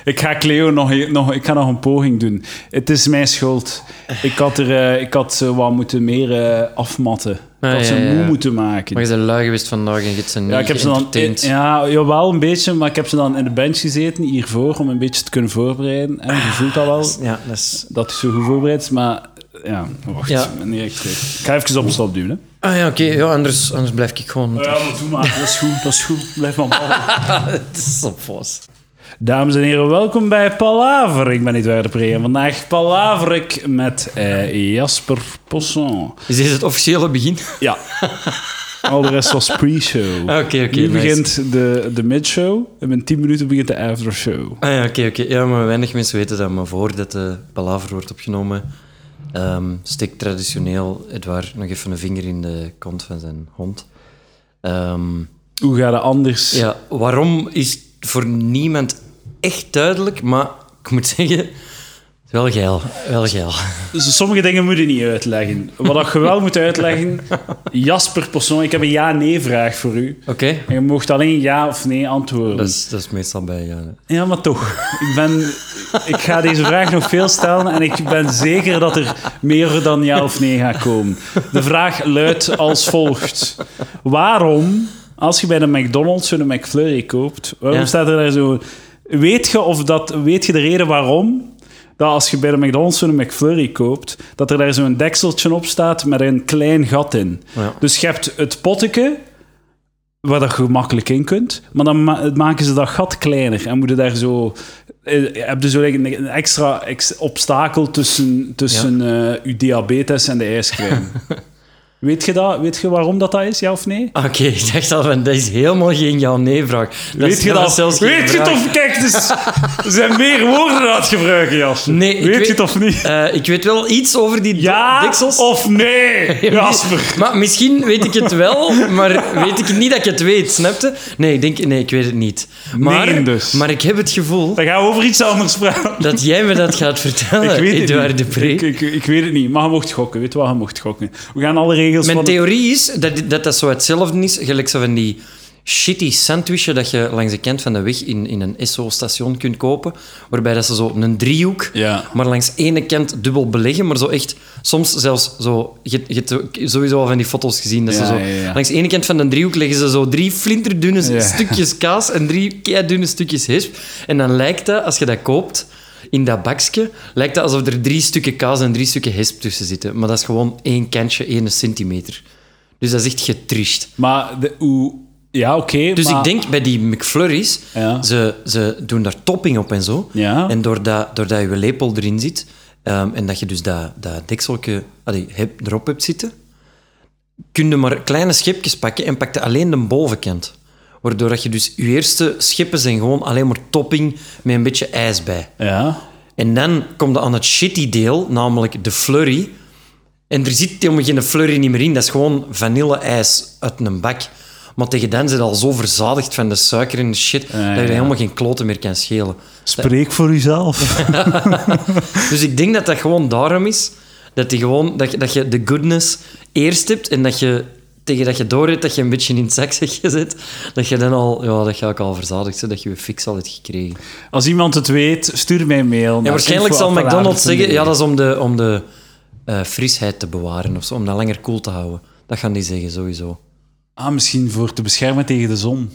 S2: ik ga Cleo nog, nog, ik ga nog een poging doen. Het is mijn schuld. Ik had, er, eh, ik had ze wat moeten meer eh, afmatten. Ik
S1: Ah,
S2: had ze
S1: ja, ja,
S2: moe
S1: ja.
S2: moeten maken.
S1: Maar je bent lui geweest vandaag en je hebt ze niet
S2: Ja, ik heb ze dan,
S1: geëntertaind.
S2: ja, jawel, een beetje, maar ik heb ze dan in de bench gezeten hiervoor om een beetje te kunnen voorbereiden. En je voelt dat wel,
S1: Ja, dat is...
S2: dat is zo goed voorbereid is, maar ja, wacht,
S1: Ja.
S2: meneer, ik terug. Ik ga even op stop duwen.
S1: Ah ja, oké. Ja, anders, anders blijf ik gewoon...
S2: Ja, maar doe maar, dat is goed, dat is goed, blijf maar
S1: Het is op vast.
S2: Dames en heren, welkom bij Palaver. Ik ben Edouard de Pre en vandaag palaver ik met eh, Jasper Posson.
S1: Is dit het officiële begin?
S2: Ja. Al de rest was pre-show.
S1: Ah, Oké, oké. nice.
S2: nu begint de, de mid-show en binnen 10 minuten begint de aftershow.
S1: Ah ja, oké, oké. Ja, maar weinig mensen weten dat, maar voordat de palaver wordt opgenomen, ehm steekt traditioneel Edouard nog even een vinger in de kont van zijn hond. Ehm,
S2: Hoe gaat het anders?
S1: ja, waarom is voor niemand echt duidelijk, maar ik moet zeggen, het is wel geil. Wel geil.
S2: Dus sommige dingen moet je niet uitleggen. Wat dat je wel moet uitleggen, Jasper Posson, ik heb een ja-nee-vraag voor u.
S1: Oké?
S2: En je mocht alleen ja of nee antwoorden.
S1: Dat, is, dat is meestal bij... ja.
S2: Ja, maar toch. Ik, ben, ik ga deze vraag nog veel stellen en ik ben zeker dat er meer dan ja of nee gaat komen. De vraag luidt als volgt. Waarom, als je bij de McDonald's zo'n McFlurry koopt, waarom
S1: Ja.
S2: staat er daar zo... Weet je, of dat, weet je de reden waarom? Dat als je bij de McDonald's zo'n McFlurry koopt, dat er daar zo'n dekseltje op staat met een klein gat in.
S1: Ja.
S2: Dus je hebt het potteke, waar dat je makkelijk in kunt. Maar dan ma- maken ze dat gat kleiner en moeten daar zo. eh, Heb je zo like een een extra ex- obstakel tussen, tussen eh, uw diabetes en de ijscrème? Weet je, dat? Weet je waarom dat, dat is, ja of nee?
S1: Ah, Oké, ik dacht al van, dat is helemaal geen ja-nee-vraag.
S2: Weet je dat? Weet je het of... Kijk, dus, er zijn meer woorden aan het gebruiken, Jas.
S1: Nee, ik
S2: weet,
S1: weet-
S2: je het of niet?
S1: Eh, ik weet wel iets over die do-
S2: Ja
S1: deksels.
S2: of nee, Jasper?
S1: Maar misschien weet ik het wel, maar weet ik niet dat ik het weet, snapte? Nee, ik denk, nee, ik weet het niet. Maar,
S2: Nee, dus.
S1: maar ik heb het gevoel
S2: Dan gaan we over iets anders praten.
S1: dat jij me dat gaat vertellen,
S2: Ik weet het
S1: Edouard
S2: niet.
S1: Depree.
S2: Ik, ik, ik weet het niet, maar je mocht gokken. Weet wat, je mocht gokken. We gaan alle regels
S1: Mijn
S2: van...
S1: theorie is dat, dat dat zo hetzelfde is, gelijk zo van die shitty sandwichen dat je langs de kant van de weg in, in een SO-station kunt kopen, waarbij dat ze zo een driehoek,
S2: Ja.
S1: maar langs ene kant dubbel beleggen, maar zo echt, soms zelfs zo, je, je hebt ook sowieso al van die foto's gezien, dat ze
S2: Ja,
S1: zo,
S2: ja, ja.
S1: langs de ene kant van een driehoek leggen ze zo drie flinterdunne
S2: Ja.
S1: stukjes kaas en drie dunne stukjes hisp, en dan lijkt dat, als je dat koopt, in dat bakje lijkt het alsof er drie stukken kaas en drie stukken hisp tussen zitten. Maar dat is gewoon één kantje, één centimeter. Dus dat is echt getricht.
S2: Maar de, hoe... Ja, oké,
S1: Dus
S2: maar-
S1: ik denk bij die McFlurries,
S2: Ja.
S1: ze, ze doen daar topping op en zo.
S2: Ja.
S1: En doordat, doordat je lepel erin zit ehm, en dat je dus dat, dat dekseltje allee, heb, erop hebt zitten, kun je maar kleine schepjes pakken en pakte alleen de bovenkant. Waardoor dat je dus je eerste scheppen zijn gewoon alleen maar topping met een beetje ijs bij.
S2: Ja.
S1: En dan komt je aan het shitty deel, namelijk de flurry. En er zit helemaal geen flurry niet meer in. Dat is gewoon vanille-ijs uit een bak. Maar tegen dan zit al zo verzadigd van de suiker en de shit, dat je
S2: ja.
S1: helemaal geen kloten meer kan schelen.
S2: Spreek voor uzelf.
S1: Dus ik denk dat dat gewoon daarom is. Dat, die gewoon, dat, je, dat je de goodness eerst hebt en dat je tegen dat je door hebt dat je een beetje in het zakje zit, dat je dan al, ja, dat ga ik al verzadigd zijn, dat je je fix al hebt gekregen.
S2: Als iemand het weet, stuur mij een mail.
S1: Ja,
S2: naar
S1: waarschijnlijk zal
S2: info@palaver.be.
S1: McDonald's zeggen, ja, dat is om de, om de eh, frisheid te bewaren of zo, om dat langer koel te houden. Dat gaan die zeggen, sowieso.
S2: Ah, misschien voor te beschermen tegen de zon.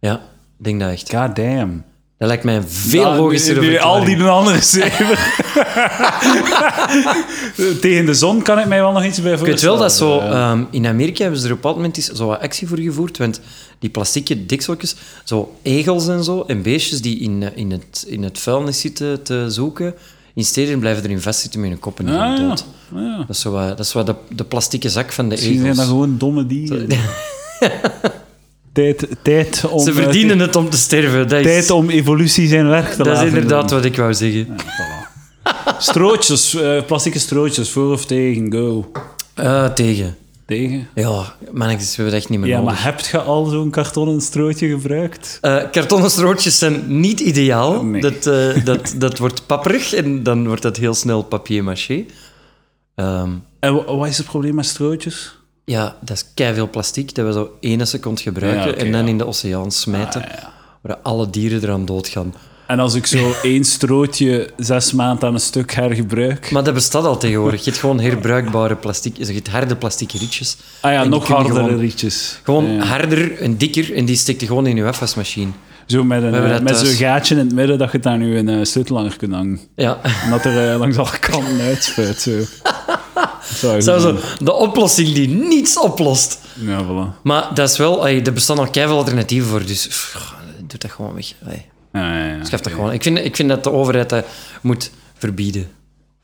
S1: Ja, ik denk dat echt.
S2: God damn.
S1: Dat lijkt mij een veel
S2: Ja,
S1: logischere
S2: nu- nu Al
S1: verklaring.
S2: Nou, die andere zeven. tegen de zon kan ik mij wel nog iets bij
S1: Ik weet wel
S2: voorstellen.
S1: dat zo... ehm, in Amerika hebben ze er op een bepaald moment eens zo wat actie voor gevoerd, want die plastieke dikseltjes, zo egels en zo, en beestjes die in, eh, in, het, in het vuilnis zitten te zoeken, in steden blijven erin vastzitten met hun koppen en
S2: Ah,
S1: gaan
S2: ja.
S1: dood.
S2: Ja.
S1: Dat is zo wat- dat is wat de, de plastieke zak van de
S2: Misschien zijn
S1: egels.
S2: dat gewoon domme dieren. tijd, tijd om...
S1: Ze
S2: eh,
S1: verdienen het om te sterven. Dat is,
S2: Tijd om evolutie zijn werk te
S1: dat is
S2: laten
S1: inderdaad
S2: doen.
S1: wat ik wou zeggen.
S2: Strootjes, eh plastieke strootjes, voor of tegen, go.
S1: Eh, tegen.
S2: Tegen?
S1: Ja, mannetjes, we hebben het echt niet meer
S2: Ja,
S1: nodig.
S2: maar heb je al zo'n kartonnen strootje gebruikt?
S1: Eh, kartonnen strootjes zijn niet ideaal.
S2: Nee.
S1: Dat, eh, dat, dat wordt papperig en dan wordt dat heel snel papier-mâché. Ehm,
S2: En wa- wat is het probleem met strootjes?
S1: Ja, dat is keiveel plastic dat we zo ene seconde gebruiken
S2: Ja, oké,
S1: en dan
S2: ja.
S1: in de oceaan smijten,
S2: Ah, ja.
S1: waar alle dieren eraan doodgaan.
S2: En als ik zo één strootje zes maanden aan een stuk hergebruik.
S1: Maar dat bestaat al tegenwoordig. Je hebt gewoon herbruikbare plastic, je hebt harde plastic rietjes.
S2: Ah ja,
S1: En die
S2: nog
S1: kun je
S2: hardere
S1: Gewoon,
S2: rietjes.
S1: gewoon
S2: Ja, ja.
S1: harder en dikker en die steekt je gewoon in je afwasmachine.
S2: Zo met, een,
S1: hebben
S2: eh,
S1: dat
S2: met zo'n
S1: thuis.
S2: gaatje in het midden dat je daar nu een eh, sleutelhanger kunt hangen.
S1: Ja.
S2: Omdat er eh, langs alle kanten uitspuit. Zo. Zou
S1: Dat is zo
S2: Mhm.
S1: de oplossing die niets oplost.
S2: Ja, voilà.
S1: Maar dat is wel, ey, er bestaan al keiveel alternatieven voor, dus pff, doe dat gewoon weg. Ey,
S2: Ja, ja, ja.
S1: Schaf dat gewoon. Ik vind, ik vind dat de overheid dat moet verbieden.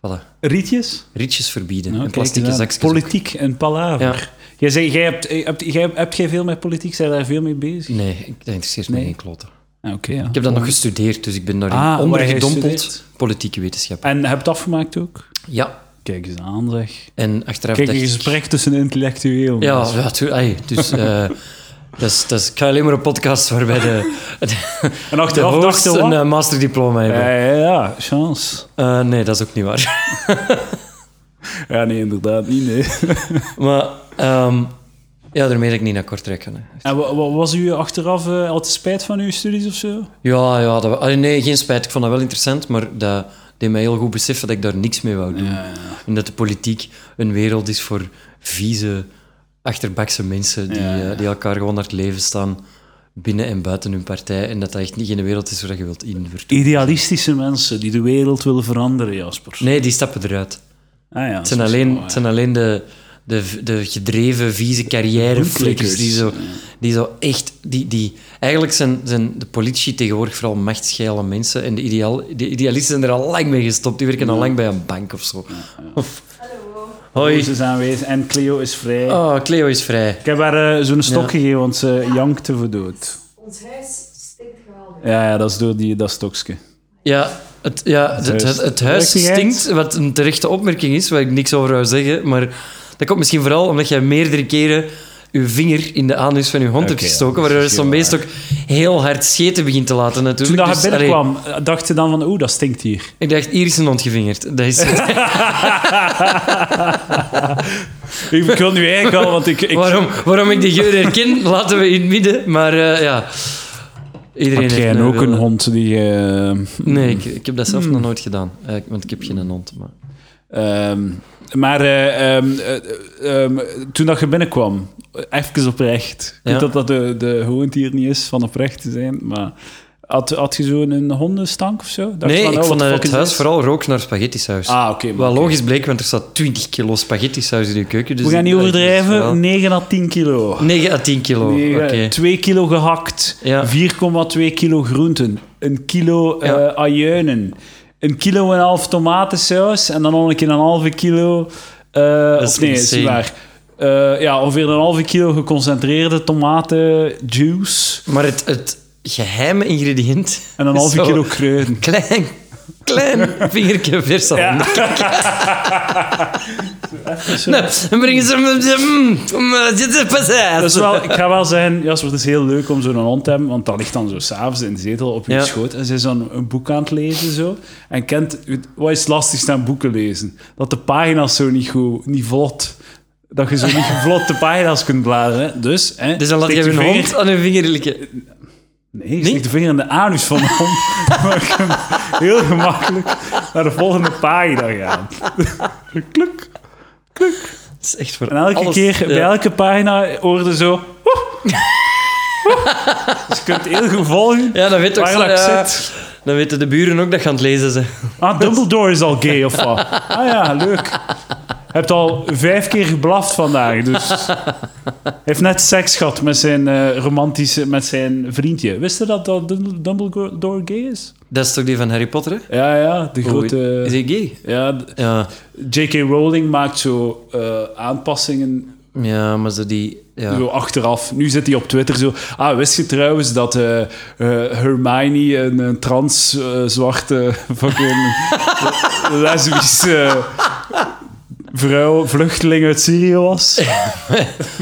S1: Voilà.
S2: Rietjes?
S1: Rietjes verbieden.
S2: Nou,
S1: en
S2: kijk
S1: plastieke
S2: eens aan.
S1: zakjes. ook.
S2: Politiek en palaver.
S1: Ja.
S2: Jij zegt, jij hebt, eh, hebt, jij, hebt jij veel met politiek? Zijn daar veel mee bezig?
S1: Nee, ik- dat interesseert me geen klote.
S2: Ah, Oké, ja.
S1: Ik heb dat nog gestudeerd, dus ik ben daarin
S2: Ah, wat heb jij
S1: ondergedompeld.
S2: gestudeerd?
S1: Politieke wetenschap.
S2: En heb je het afgemaakt ook?
S1: Ja,
S2: Kijk eens aan, zeg.
S1: en achteraf
S2: Kijk, een
S1: dacht ik-
S2: gesprek tussen intellectuelen.
S1: Ja, ja tu- ey, dus... eh, dat is, dat is, ik ga alleen maar een podcast waarbij de, de,
S2: En
S1: de
S2: achteraf
S1: host
S2: dachten
S1: een
S2: we...
S1: eh, masterdiploma hebben.
S2: Ja, ja, ja, chance.
S1: Eh, nee, dat is ook niet waar.
S2: Ja, nee, inderdaad niet, nee.
S1: Maar ehm, ja, daarmee dat ik niet naar Kortrijk kan. hè.
S2: En wa- wa- was u achteraf eh, al te spijt van uw studies of zo?
S1: Ja, ja dat, wa- allee, nee, geen spijt. Ik vond dat wel interessant, maar dat deed mij heel goed beseffen dat ik daar niks mee wou doen. En dat de politiek een wereld is voor vieze, achterbakse mensen die,
S2: Ja, ja.
S1: eh, die elkaar gewoon naar het leven staan, binnen en buiten hun partij. En dat dat echt niet geen wereld is waar je wilt in vertoeven.
S2: Idealistische mensen die de wereld willen veranderen, Jasper.
S1: Nee, die stappen eruit.
S2: Ah, ja,
S1: Het zijn alleen, het zijn alleen de, de, de gedreven, vieze carrièreflikkers die zo, die zo echt... Die, die, eigenlijk zijn, zijn de politici tegenwoordig vooral machtsgeile mensen en de, ideaal, de idealisten zijn er al lang mee gestopt. Die werken al lang bij een bank of zo. Of- Hoi.
S2: Ze is aanwezig en Cleo is vrij.
S1: Oh, Cleo is vrij.
S2: Ik heb haar eh, zo'n stok
S1: Ja.
S2: gegeven, want ze jankte voor dood.
S3: Ons huis stinkt geweldig.
S2: Ja, ja, dat is door die, dat stokje.
S1: Ja, het, ja, het, het, het huis
S2: Werkelijkheid.
S1: stinkt, wat een terechte opmerking is, waar ik niks over wou zeggen. Maar dat komt misschien vooral omdat jij meerdere keren je vinger in de anus van je hond hebt
S2: Oké,
S1: gestoken,
S2: dat is
S1: waardoor
S2: misschien
S1: zo'n
S2: wel
S1: beest ook heel hard scheten begint te laten
S2: Toen
S1: natuurlijk.
S2: dat
S1: Dus,
S2: je
S1: allee,
S2: binnenkwam, eh, dacht je dan van, oeh, dat stinkt hier.
S1: ik dacht, hier is een hond gevingerd. Dat is,
S2: Ik wil nu eigenlijk al, want ik... ik
S1: waarom, waarom ik die geur herken, laten we in het midden. Maar eh, ja, iedereen
S2: Had
S1: heeft
S2: jij ook
S1: wil-
S2: een hond Hmm. die... eh,
S1: Nee, ik, ik heb dat zelf nog nooit gedaan, eh, want ik heb geen hond. Maar...
S2: Ehm, maar eh, ehm, eh, ehm, toen dat je binnenkwam, even oprecht. Ik
S1: Ja.
S2: weet dat dat de, de hoogtier niet is van oprecht te zijn, maar had, had je zo'n een hondenstank of zo? Dacht je
S1: Nee,
S2: van,
S1: ik
S2: oh,
S1: vond
S2: what
S1: dat
S2: the
S1: het
S2: fuck is
S1: huis vooral rook naar spaghettisaus.
S2: dit? Ah, oké. maar
S1: Wat
S2: oké.
S1: logisch bleek, want er staat 20 kilo spaghetti saus in je keuken. Dus
S2: We gaan niet
S1: dat is wel-
S2: overdrijven, 9 à 10 kilo.
S1: 9 à 10 kilo.
S2: Negen-
S1: Oké.
S2: 2 eh, kilo gehakt,
S1: Ja.
S2: 4,2 kilo groenten, een kilo eh
S1: Ja.
S2: ajuinen, een kilo en een half tomatensaus en dan nog een keer een halve kilo... eh
S1: is
S2: of nee, is
S1: insane.
S2: niet waar. Eh, ja, ongeveer een halve kilo geconcentreerde tomatenjuice
S1: Maar het, het geheime ingrediënt.
S2: en een
S1: is
S2: halve
S1: zo
S2: kilo kruiden.
S1: Klein, klein vingertje vers aan.
S2: Ja.
S1: Nou, dan brengen ze hem. Dit is pas
S2: Dat is wel, ik ga wel zeggen, Jasper, het is heel leuk om zo'n hond te hebben, want dat ligt dan zo s'avonds in de zetel op je
S1: Ja.
S2: schoot en ze is dan een boek aan het lezen zo. En kent, wat is het lastigste aan boeken lezen? Dat de pagina's zo niet goed, niet vlot, dat je zo niet vlot de pagina's kunt bladeren. hè. Dus, hè,
S1: Dus dan laat
S2: steek
S1: je
S2: je
S1: een
S2: vinger-
S1: hond aan een vinger likken.
S2: Nee, je steekt de vinger in de anus van de hond. maar je kunt heel gemakkelijk naar de volgende pagina gaan. Kluk.
S1: Dat is echt voor
S2: En elke
S1: alles.
S2: keer, bij
S1: Ja.
S2: elke pagina hoorde zo... "Woe, woe." dus je kunt heel goed volgen.
S1: Ja, dan weet ook
S2: Waar
S1: zo,
S2: dat
S1: ja,
S2: zit.
S1: Dan weten de buren ook dat je aan het lezen zijn.
S2: Ah, Dumbledore is al gay of wat? Ah ja, leuk. Je hebt al vijf keer geblaft vandaag, dus... Hij heeft net seks gehad met zijn eh, romantische... met zijn vriendje. Wist je dat dat Dum- Dumbledore gay is?
S1: Dat is toch die van Harry Potter? hè?
S2: Ja, ja, de
S1: Is
S2: grote...
S1: hij gay?
S2: Ja, d-
S1: Ja.
S2: J.K. Rowling maakt zo eh, aanpassingen
S1: Ja, maar zo die... Ja.
S2: zo achteraf. Nu zit hij op Twitter zo... Ah, wist je trouwens dat eh, eh, Hermione een, een trans eh, zwarte fucking lesbische eh, vrouw, vluchteling uit Syrië was?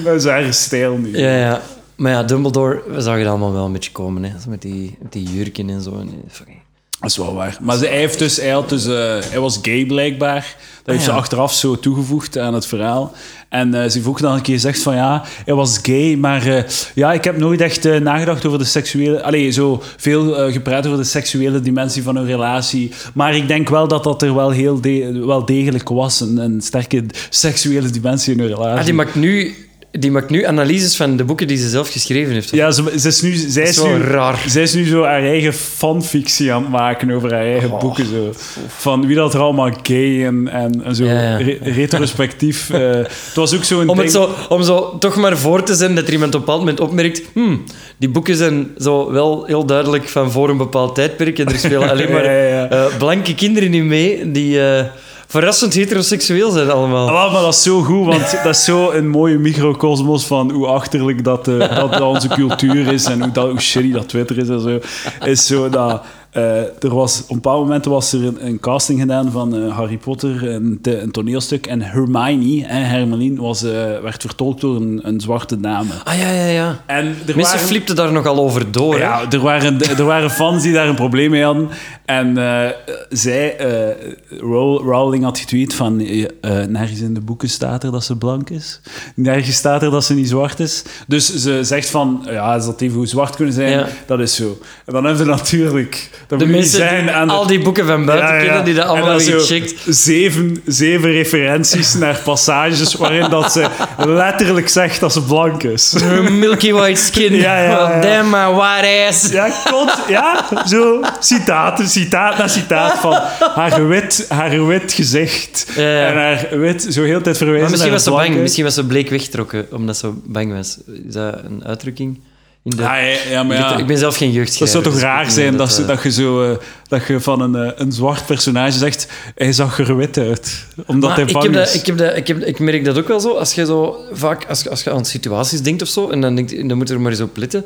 S2: dat is haar stijl nu.
S1: Ja, ja. Maar ja, Dumbledore we zag het allemaal wel een beetje komen. Hè. Zo Met die, met die jurken en zo. En, fucking-
S2: Dat is wel waar. Maar ze- hij, heeft dus, hij, had dus, eh, hij was gay blijkbaar. Dat heeft
S1: Ah, ja.
S2: ze achteraf zo toegevoegd aan het verhaal. En eh, ze heeft ook nog een keer gezegd van ja, hij was gay, maar eh, ja, ik heb nooit echt eh, nagedacht over de seksuele... Allee, zo veel eh, gepraat over de seksuele dimensie van hun relatie. Maar ik denk wel dat dat er wel, heel de- wel degelijk was. Een, een sterke seksuele dimensie in hun relatie.
S1: Ah, die, maakt nu, die maakt nu analyses van de boeken die ze zelf geschreven heeft.
S2: Ja, ze, ze is nu, zij,
S1: Dat
S2: is
S1: is wel
S2: nu,
S1: raar.
S2: zij is nu zo haar eigen fanfictie aan het maken over haar
S1: Oh,
S2: eigen boeken. Zo. Van wie dat er allemaal gay en, en, en zo
S1: Ja, ja.
S2: re- retrospectief. eh, het was ook zo'n
S1: Om, het
S2: ding.
S1: zo, om zo toch maar voor te zijn dat er iemand op een bepaald moment opmerkt hmm, die boeken zijn zo wel heel duidelijk van voor een bepaald tijdperk en er spelen alleen maar
S2: Ja, ja, ja.
S1: eh, blanke kinderen in mee die eh, verrassend heteroseksueel zijn allemaal.
S2: Ah, maar dat is zo goed, want dat is zo een mooie microcosmos van hoe achterlijk dat, eh, dat, dat onze cultuur is en hoe, dat, hoe shitty dat Twitter is en zo. Is zo dat, eh, er was, op een bepaald moment was er een, een casting gedaan van eh, Harry Potter, een, te- een toneelstuk, en Hermione, en Hermeline, was, eh, werd vertolkt door een, een zwarte dame.
S1: Ah ja, ja, ja.
S2: En er
S1: Mensen
S2: waren-
S1: flipten daar nogal over door. hè.
S2: ja, er waren, er waren fans die daar een probleem mee hadden. En eh, zij, eh, Row- Rowling had getweet van... eh, eh, nergens in de boeken staat er dat ze blank is. Nergens staat er dat ze niet zwart is. Dus ze zegt van... Ja, ze had even goed zwart kunnen zijn.
S1: Ja.
S2: Dat is zo. En dan hebben we natuurlijk... Dat
S1: De
S2: moet niet
S1: mensen
S2: zijn
S1: die
S2: aan de-
S1: al die boeken van buiten
S2: ja, ja, ja.
S1: kennen, die dat
S2: En
S1: allemaal
S2: dan
S1: hebben
S2: zo
S1: gecheckt.
S2: Zeven, zeven referenties naar passages waarin dat ze letterlijk zegt dat ze blank is.
S1: Her Milky White Skin.
S2: Ja, ja, ja.
S1: Damn, my white ass.
S2: Ja, klopt. Ja, zo. Citaat, citaat na citaat van haar wit, haar wit gezicht.
S1: Ja, ja.
S2: En haar wit, zo heel de tijd verwijzen
S1: Maar misschien was ze
S2: naar het
S1: bang.
S2: blanke.
S1: Misschien was ze bleek weggetrokken, omdat ze bang was. Is dat een uitdrukking? In de...
S2: Ah, ja, ja, maar ja.
S1: Ik ben zelf geen
S2: Dat
S1: jeugdschrijver.
S2: zou toch
S1: dus ik
S2: raar
S1: weet
S2: zijn
S1: niet
S2: dat, ze-
S1: eh,
S2: dat je zo, eh, dat je van een, eh, een zwart personage zegt, hij zag er wit uit. Omdat
S1: Maar
S2: hij
S1: ik,
S2: bang
S1: heb dat,
S2: is.
S1: ik, heb dat, ik, heb, ik merk dat ook wel zo. Als je zo vaak als je, als je aan situaties denkt of zo, en dan, denkt, dan moet je er maar eens op letten.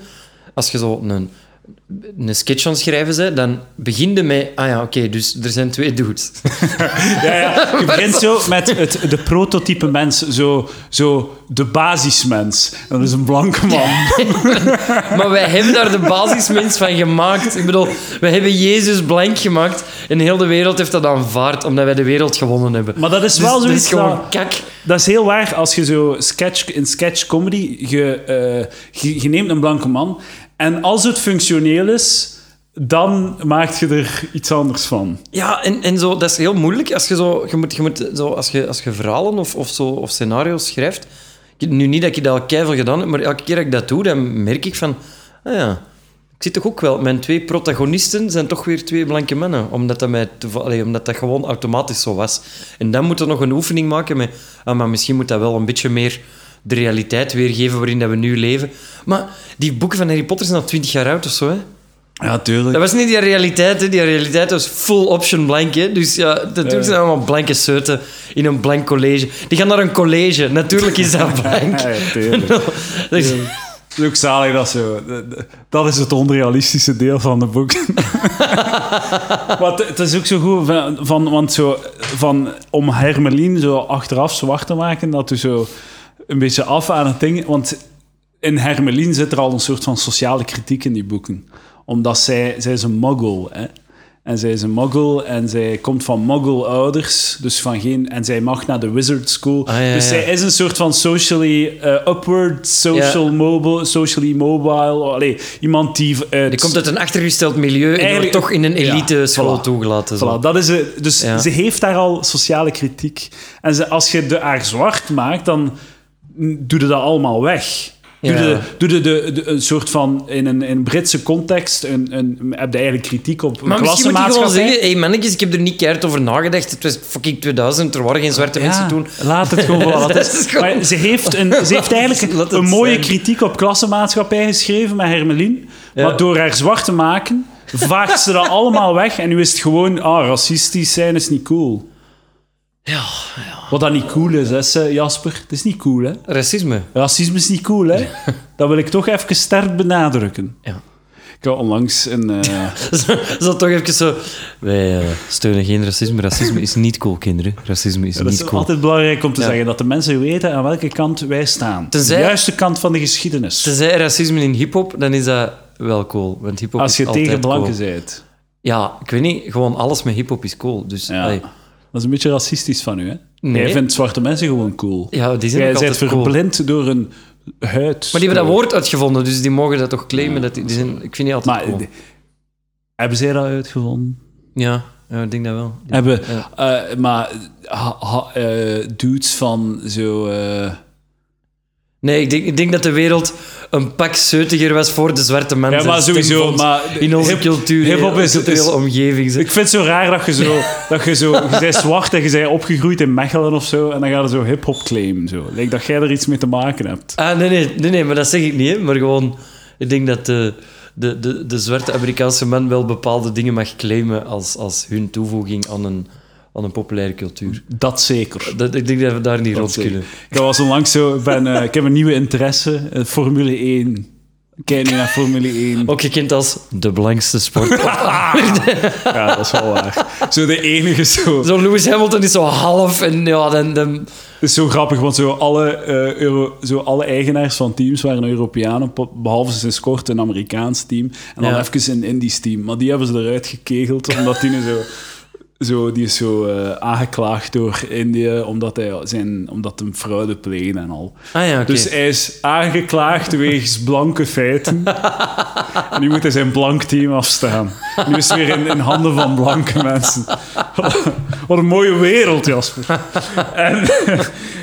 S1: Als je zo een, een sketch aan het schrijven bent, dan begin je met... Ah ja, oké, dus er zijn twee dudes.
S2: Ja, ja. Je begint zo met het, de prototype mens, zo, zo de basismens. En dat is een blanke man.
S1: Maar wij hebben daar de basismens van gemaakt. Ik bedoel, wij hebben Jezus blank gemaakt. En heel de wereld heeft dat aanvaard, omdat wij de wereld gewonnen hebben.
S2: Maar dat is
S1: Dus
S2: wel
S1: dat
S2: zoiets
S1: is gewoon
S2: dat-
S1: kak.
S2: Dat is heel waar als je zo sketch, in sketch comedy. Je, eh, je, je neemt een blanke man. En als het functioneel is, dan maak je er iets anders van.
S1: Ja, en, en zo, dat is heel moeilijk. Als je, zo, je, moet, je, moet, zo, als je, als je verhalen of, of, zo, of scenario's schrijft... ik- Nu niet dat ik dat al keihard gedaan heb, maar elke keer dat ik dat doe, dan merk ik van... Ah ja, ik zit toch ook wel... Mijn twee protagonisten zijn toch weer twee blanke mannen. Omdat dat, mij toeval- allee, omdat dat gewoon automatisch zo was. En dan moeten we nog een oefening maken met... Ah, maar misschien moet dat wel een beetje meer de realiteit weergeven waarin dat we nu leven. Maar die boeken van Harry Potter zijn al twintig jaar oud of zo, hè?
S2: Ja, tuurlijk.
S1: Dat was niet die realiteit, hè. Die realiteit was full option blank, hè. Dus ja, natuurlijk zijn allemaal blanke seuten in een blank college. Die gaan naar een college. Natuurlijk is dat blank. Dus
S2: Ja, ja, tuurlijk.
S1: Dat is-
S2: Het is ook zalig dat zo. Dat is het onrealistische deel van de boek. Want het is ook zo goed van, van, want zo, van, om Hermelien zo achteraf zwart te maken, dat u zo een beetje af aan het ding. Want in Hermelien zit er al een soort van sociale kritiek in die boeken. Omdat zij, zij is een muggle, hè. En zij is een muggle en zij komt van muggle-ouders. Dus van geen... En zij mag naar de wizard school.
S1: Ah, ja,
S2: dus
S1: ja.
S2: zij is een soort van socially eh, upward, social
S1: Ja.
S2: mobile, socially mobile. oh, Allee, iemand die... eh,
S1: Die komt uit een achtergesteld milieu en wordt
S2: Eigenlijk-
S1: toch in een elite
S2: Ja,
S1: school
S2: voilà.
S1: toegelaten. Zo.
S2: Voilà, dat is het. dus
S1: Ja.
S2: ze heeft daar al sociale kritiek. En ze, als je de, haar zwart maakt, dan mm, doe je dat allemaal weg. Doe
S1: Ja.
S2: je doe je de, de- een soort van, in een, in een Britse context, een, een, heb je eigenlijk kritiek op
S1: Maar misschien moet je gewoon
S2: klassenmaatschappij.
S1: zeggen... Hé, mannetjes, ik heb er niet keihard over nagedacht. Het was fucking 2000, er waren geen zwarte mensen toen.
S2: Laat het gewoon voor wat het is.
S1: is gewoon-
S2: Maar ze heeft, een, ze heeft
S1: Laat
S2: eigenlijk
S1: het
S2: een mooie
S1: zijn.
S2: kritiek op klassenmaatschappij geschreven met Hermelien.
S1: Ja.
S2: Maar door haar zwart te maken, vaagt ze dat allemaal weg. En nu is het gewoon, ah, racistisch zijn is niet cool.
S1: Ja,
S2: Wat dat niet cool is, hè, ze- Jasper. Het is niet cool, hè.
S1: racisme.
S2: Racisme is niet cool, hè. Dat wil ik toch even sterk benadrukken.
S1: Ja.
S2: Ik had onlangs een... eh,
S1: Zo, zo toch even zo... Wij eh, steunen geen racisme. Racisme is niet cool, kinderen. Racisme is
S2: dat
S1: niet
S2: is
S1: cool.
S2: altijd belangrijk om te
S1: Ja.
S2: zeggen, dat de mensen weten aan welke kant wij staan.
S1: Tenzij-
S2: De juiste kant van de geschiedenis.
S1: Tenzij racisme in hip-hop, dan is dat wel cool. Want hip-hop
S2: Als
S1: is
S2: je
S1: altijd
S2: tegen blanken
S1: cool.
S2: bent.
S1: Ja, ik weet niet, gewoon alles met hip-hop is cool. Dus,
S2: Ja.
S1: allee.
S2: Dat is een beetje racistisch van u, hè?
S1: Nee.
S2: Jij vindt zwarte mensen gewoon cool.
S1: Ja, die zijn
S2: Jij
S1: ook
S2: bent
S1: altijd cool.
S2: verblind door een huid. Eh,
S1: Maar die hebben dat woord uitgevonden, dus die mogen dat toch claimen. Dat die, die zijn, ik vind die altijd
S2: Maar,
S1: cool.
S2: eh, hebben zij dat uitgevonden?
S1: Ja, ja, ik denk dat wel.
S2: Hebben,
S1: Ja.
S2: eh, maar ha- ha- eh, dudes van zo... eh,
S1: Nee, ik denk, ik denk dat de wereld een pak zeutiger was voor de zwarte mensen.
S2: Ja, maar
S1: Stem
S2: sowieso,
S1: van-
S2: maar-
S1: in onze
S2: hip-
S1: cultuur,
S2: hiphop is-
S1: culturele
S2: is-
S1: omgeving. ze-
S2: ik vind het zo raar dat je zo... dat je zo... Je bent zwart en je bent opgegroeid in Mechelen of zo. En dan ga je zo hip-hop claimen. Zo. Lijkt dat jij er iets mee te maken hebt.
S1: Ah, nee, nee, nee, nee, maar dat zeg ik niet. Hè. Maar gewoon, ik denk dat de, de, de, de zwarte Amerikaanse man wel bepaalde dingen mag claimen als, als hun toevoeging aan een, aan een populaire cultuur.
S2: Dat zeker.
S1: Dat, ik denk dat we daar niet
S2: Dat
S1: rond
S2: zeker.
S1: kunnen.
S2: Ik was onlangs zo... ik Ben, eh, ik heb een nieuwe interesse. eh, Formule 1. Kijk nu naar Formule 1.
S1: Ook gekend als de belangrijkste sport.
S2: Ja, dat is wel waar. Zo de enige zo.
S1: Zo Lewis Hamilton is zo half en ja, dan... dan
S2: Het is zo grappig, want zo alle, eh, Euro, zo alle eigenaars van teams waren Europeanen, po- behalve sinds kort een Amerikaans team. En dan
S1: Ja.
S2: even een Indisch team. Maar die hebben ze eruit gekegeld, omdat die nu zo... Zo, die is zo eh, aangeklaagd door Indië omdat hij zijn, omdat hem fraude pleegde en al.
S1: ah ja, oké.
S2: Dus hij is aangeklaagd wegens blanke feiten. en nu moet hij zijn blank team afstaan. Nu is het weer in, in handen van blanke mensen. wat een mooie wereld, Jasper. En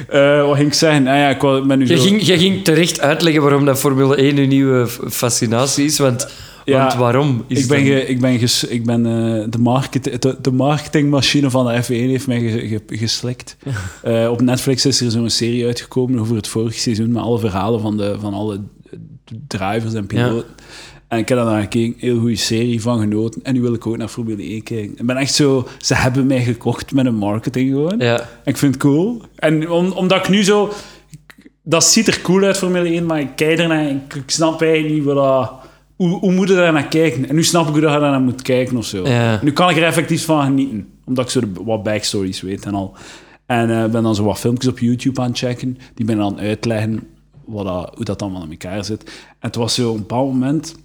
S2: eh, wat ging ik zeggen? Ah ja, ik wou- ben nu
S1: Je
S2: zo-
S1: ging, je ging terecht uitleggen waarom dat Formule 1 een nieuwe f- fascinatie is, want,
S2: Ja,
S1: want waarom is
S2: ik ben,
S1: dan-
S2: ge- ik ben, ges- ik ben eh, de, market, de, de marketingmachine van de F1 heeft mij ge- ge- geslikt. Eh, op Netflix is er zo'n serie uitgekomen over het vorige seizoen met alle verhalen van, de, van alle drivers en piloten. En ik heb daar naar gekeken, heel goede serie van genoten. En nu wil ik ook naar Formule 1 kijken. Ik ben echt zo, ze hebben mij gekocht met een marketing gewoon.
S1: Ja.
S2: En ik vind het cool. En om- omdat ik nu zo... ik- Dat ziet er cool uit, Formule 1, maar ik kijk ernaar en ik, ik snap eigenlijk niet wat dat- hoe, hoe moet je daar naar kijken? En nu snap ik hoe dat je daar naar moet kijken of zo.
S1: Ja.
S2: Nu kan ik er effectief van genieten. Omdat ik zo de- wat backstories weet en al. En eh, ben dan zo wat filmpjes op YouTube aan het checken. Die ben dan uitleggen wat dat, hoe dat allemaal in elkaar zit. En het was zo op een bepaald moment...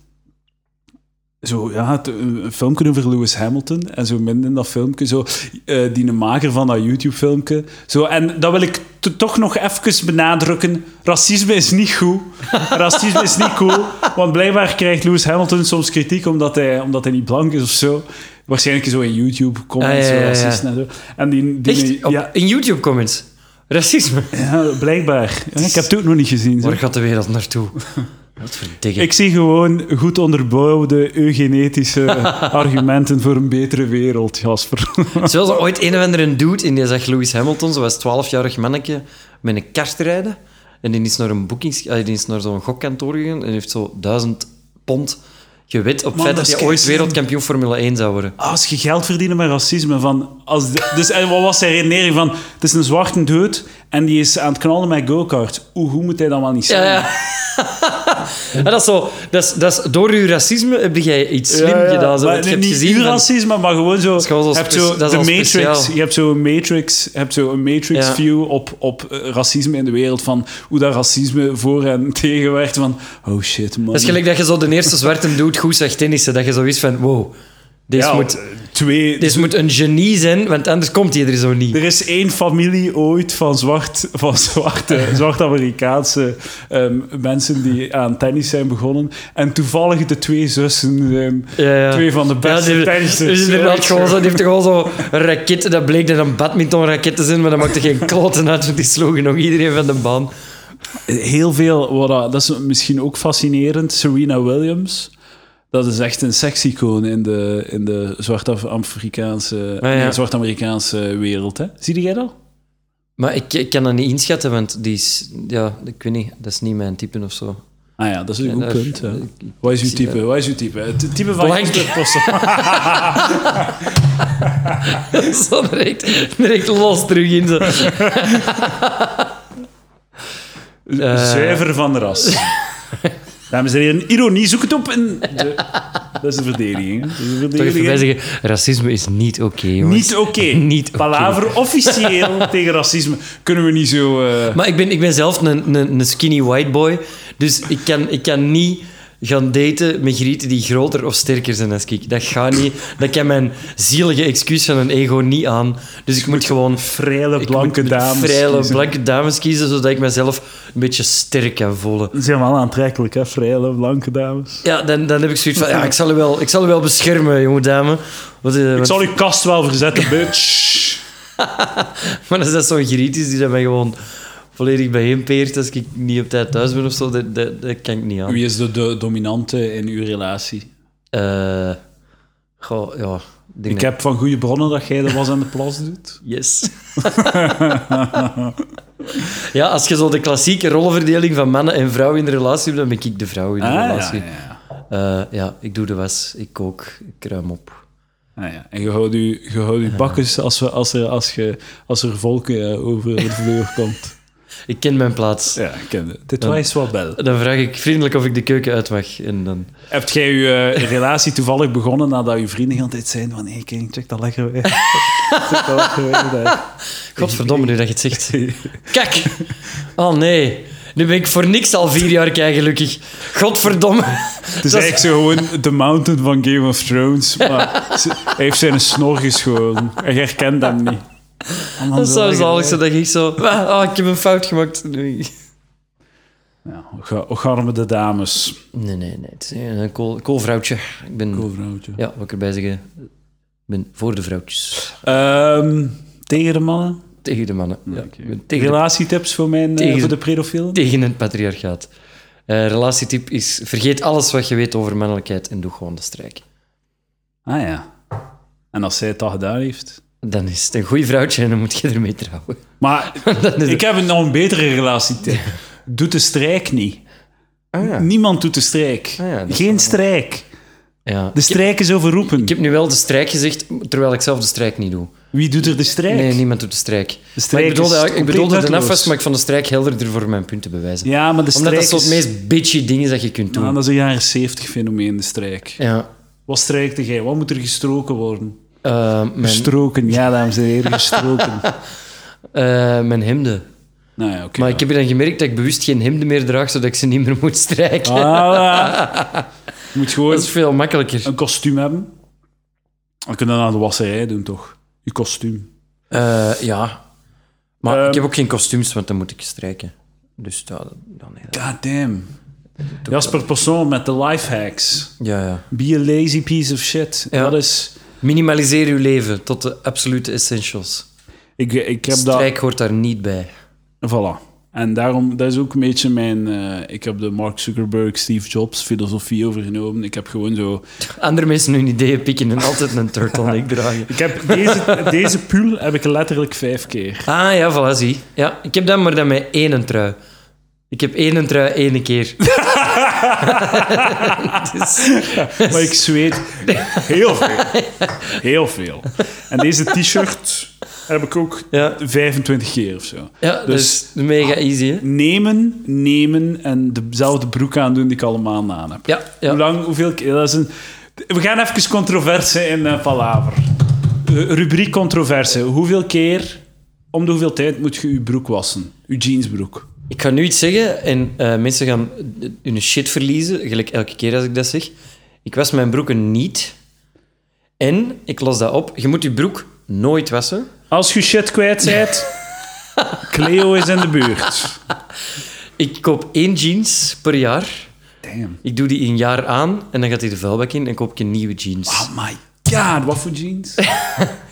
S2: Zo, ja, het- eh, een een filmpje over Lewis Hamilton. En zo midden in dat filmpje, zo, eh, die maker van dat YouTube-filmpje. Zo, en dat wil ik t- toch nog even benadrukken. Racisme is niet goed. Racisme is niet cool. Want blijkbaar krijgt Lewis Hamilton soms kritiek omdat hij, omdat hij niet blank is of zo. Waarschijnlijk zo in YouTube-comments,
S1: Ah, ja, ja, ja.
S2: racisten en zo. En die, die,
S1: Echt? Op-
S2: ja,
S1: In YouTube-comments? Racisme?
S2: ja, blijkbaar. Ja, ik heb het ook nog niet gezien. zo.
S1: Waar gaat de wereld naartoe? Wat verdikke.
S2: Ik zie gewoon goed onderbouwde eugenetische argumenten voor een betere wereld, Jasper.
S1: Zoals er ooit een of andere dude in die zag Lewis Hamilton, zo was 12-jarig mannetje, met een kart rijden. En die is naar een boekings, eh, die is naar zo'n gokkantoor gegaan en heeft zo 1000 pond gewet op het
S2: Man,
S1: feit
S2: dat
S1: dat
S2: is
S1: hij ooit
S2: keizer.
S1: wereldkampioen Formule 1 zou worden.
S2: Ah, Als je geld verdienen met racisme. Van, als de- dus, en wat was zijn redenering van? Het is een zwarte dude en die is aan het knallen met go-kart. Hoe, hoe moet hij dan wel niet zijn?
S1: Ja, ja. En Ah, dat is zo, dat is, dat is, door uw racisme heb jij iets slim
S2: Ja, ja.
S1: gedaan. Zo.
S2: Maar
S1: Want je
S2: niet
S1: hebt gezien
S2: uw
S1: van-
S2: racisme, maar gewoon zo.
S1: gewoon zo
S2: je hebt zo
S1: speci- dat
S2: de
S1: is al
S2: Matrix.
S1: speciaal.
S2: Je hebt zo een Matrix, je hebt zo een Matrix
S1: Ja.
S2: view op, op eh, racisme in de wereld. Van hoe dat racisme voor en tegen werd. Van oh shit man.
S1: Dat is gelijk dat je zo de eerste zwarte dude goed zegt tennissen. Dat je zo is van, wow, deze,
S2: Ja,
S1: moet,
S2: twee,
S1: deze moet een genie zijn, want anders komt hij er zo niet.
S2: Er is één familie ooit van, zwart, van zwarte, zwart-Amerikaanse ehm, mensen die aan tennis zijn begonnen. En toevallig de twee zussen zijn
S1: Ja, ja.
S2: twee van de beste
S1: die-
S2: tennissers.
S1: Dus inderdaad, gewoon zo, die heeft gewoon zo een raket. Dat bleek dat een badmintonraket te zijn, maar dat maakte geen kloten uit, want die sloegen nog iedereen van de baan.
S2: Heel veel, wat, dat- dat is misschien ook fascinerend, Serena Williams. Dat is echt een seksicoon in de, in de zwart-Afrikaanse
S1: Ah, Ja, ja.
S2: nee, zwart-Amerikaanse wereld. Hè? Zie jij dat?
S1: Maar ik, ik kan dat niet inschatten, want die is... Ja, ik weet niet, dat is niet mijn type of zo.
S2: Ah ja, dat is een
S1: Ja,
S2: goed
S1: daar-
S2: punt. hè.
S1: ik-
S2: Wat is uw
S1: zie
S2: type? Wat is uw type? Het type van
S1: Blank.
S2: Jasper Posse.
S1: Zo direct, direct los terug in. Zo. Eh.
S2: Zuiver van de ras. Dames en heren, ironie, zoek het op. In de... Dat is de verdediging. hè. Dat is de
S1: Toch even
S2: verdediging.
S1: bij zeggen, racisme is niet oké, jongens.
S2: Niet oké.
S1: Niet oké.
S2: Palaver officieel tegen racisme. Kunnen we niet zo... eh,
S1: Maar ik ben, ik ben zelf een, een, een skinny white boy, dus ik kan, ik kan niet gaan daten met grieten die groter of sterker zijn dan ik. Dat gaat niet. Dat kan mijn zielige excuus van een ego niet aan. Dus ik moet gewoon
S2: Vrele
S1: ik
S2: blanke
S1: moet
S2: dames.
S1: vrije
S2: kiezen.
S1: blanke dames kiezen, zodat ik mezelf een beetje sterk kan voelen.
S2: Ze zijn wel aantrekkelijk, hè? Vrele blanke dames.
S1: Ja, dan, dan heb ik zoiets van, ja, ik zal u wel, ik zal u wel beschermen, jonge dame. Wat, eh,
S2: Ik
S1: want-
S2: zal uw kast wel verzetten, bitch.
S1: Maar als dat zo'n griet is die dat mij gewoon volledig bijeenpeert als ik niet op tijd thuis ben of zo, dat, dat, dat kan ik niet aan.
S2: Wie is de, de dominante in uw relatie?
S1: Eh, goh, ja. ik denk
S2: Ik
S1: dat-
S2: heb van goede bronnen dat jij de was aan de plas doet.
S1: Yes. ja, als je zo de klassieke rollenverdeling van mannen en vrouwen in de relatie hebt, dan ben ik de vrouw in de relatie. Eh,
S2: Ah, ja.
S1: Ja. ik doe de was, ik kook, ik ruim op.
S2: Ah, ja. En je houdt je, je, houdt je bakkes als, we, als, er, als, je, als er volk eh, over de vloer komt.
S1: Ik ken mijn plaats.
S2: Ja, ik ken het. Dit was wel bel.
S1: Dan vraag ik vriendelijk of ik de keuken uit mag. En dan...
S2: Hebt jij je eh, relatie toevallig begonnen nadat je vrienden altijd zeiden van hé, hey, King, check dat lekker weg. check dat lekker weg. daar."
S1: Godverdomme, nu dat je het zegt. Kijk! Oh nee, nu ben ik voor niks al vier jaar kei gelukkig. Godverdomme.
S2: Het is
S1: Dat is-
S2: eigenlijk zo gewoon de mountain van Game of Thrones, maar ze- hij heeft zijn snor geschoren. En je herkent hem niet. En dan
S1: Dat zou
S2: lekker
S1: zalig
S2: weg.
S1: zijn dat ik zo... Ah, ik heb een fout gemaakt. Nee.
S2: Ja, och- och, arme de dames.
S1: Nee, nee, nee. Het is een cool, cool vrouwtje. Ik ben,
S2: Cool vrouwtje.
S1: ja, wat ik erbij zeggen. Ik ben voor de vrouwtjes.
S2: Ehm, tegen de mannen?
S1: Tegen de mannen. Ja, ik ben tegen, de-
S2: Relatietips voor, mijn, eh,
S1: Tegen-
S2: voor de pedofielen?
S1: tegen het patriarchaat. Eh relatietip is: vergeet alles wat je weet over mannelijkheid en doe gewoon de strijk.
S2: Ah ja. En als zij het al gedaan heeft...
S1: Dan is het een goeie vrouwtje en dan moet je ermee trouwen.
S2: Maar ik heb een, nog een betere relatietip. Doe de strijk niet. Ah, Niemand doet de strijk.
S1: Ah ja, dat is
S2: Geen strijk.
S1: Ja.
S2: De strijk is overroepen.
S1: Ik heb nu wel de strijk gezegd, terwijl ik zelf de strijk niet doe.
S2: Wie doet er de strijk?
S1: Nee, niemand doet de strijk.
S2: strijk
S1: Maar ik bedoelde,
S2: is
S1: eigenlijk- ik bedoelde de
S2: compleet
S1: afwas,
S2: nutteloos.
S1: maar ik vond de strijk helderder voor mijn punt te bewijzen.
S2: Ja, maar de
S1: Omdat
S2: strijk
S1: dat soort
S2: is...
S1: meest bitchy ding is dat je kunt doen.
S2: Ja, dat is een jaren zeventig fenomeen, de strijk.
S1: Ja.
S2: Wat strijkte jij? Wat moet er gestroken worden?
S1: Eh,
S2: Dus
S1: mijn,
S2: Gestroken, ja, dames en heren, gestroken.
S1: eh, mijn hemden.
S2: nou ja, oké.
S1: Maar ik heb je dan gemerkt dat ik bewust geen hemden meer draag, zodat ik ze niet meer moet strijken.
S2: Voilà. Je moet gewoon
S1: Dat is veel makkelijker.
S2: een kostuum hebben. Dan kun je dat naar de wasserij doen, toch? Je kostuum.
S1: Eh, ja. Maar
S2: Ehm.
S1: ik heb ook geen kostuums, want dan moet ik strijken. Dus dat... Dan,
S2: God damn. Jasper Persoon met de lifehacks.
S1: ja, ja.
S2: Be a lazy piece of shit.
S1: Ja.
S2: Dat is...
S1: Minimaliseer uw leven tot de absolute essentials.
S2: Ik, ik heb dat...
S1: Strijk hoort daar niet bij.
S2: Voilà. En daarom, dat is ook een beetje mijn... eh, ik heb de Mark Zuckerberg, Steve Jobs filosofie overgenomen. Ik heb gewoon zo...
S1: Andere mensen hun ideeën pikken en altijd een turtleneck dragen.
S2: Ik heb deze, deze pull heb ik letterlijk vijf keer.
S1: Ah ja, voilà, zie. Ja, ik heb dat maar dan met één trui. Ik heb één trui één keer. dus,
S2: Maar ik zweet heel veel. Heel veel. En deze t-shirt heb ik ook
S1: ja,
S2: 25 keer of zo.
S1: ja,
S2: Dus-
S1: dus mega easy, hè?
S2: Nemen, nemen en dezelfde broek aandoen die ik al een maand aan heb.
S1: Ja,
S2: Hoe
S1: ja.
S2: lang, hoeveel keer? Dat is een... We gaan even controverse in eh, Palaver. Eh, Rubriek controverse. Hoeveel keer, om de hoeveel tijd, moet je je broek wassen? Je jeansbroek.
S1: Ik ga nu iets zeggen en eh, mensen gaan eh, hun shit verliezen, gelijk elke keer als ik dat zeg. Ik was mijn broeken niet. En, ik los dat op, je moet je broek nooit wassen.
S2: Als je shit kwijt bent, Cleo is in de buurt.
S1: Ik koop één jeans per jaar.
S2: Damn.
S1: Ik doe die een jaar aan en dan gaat hij de vuilbak in en koop ik een nieuwe jeans.
S2: Oh my god, wat voor jeans?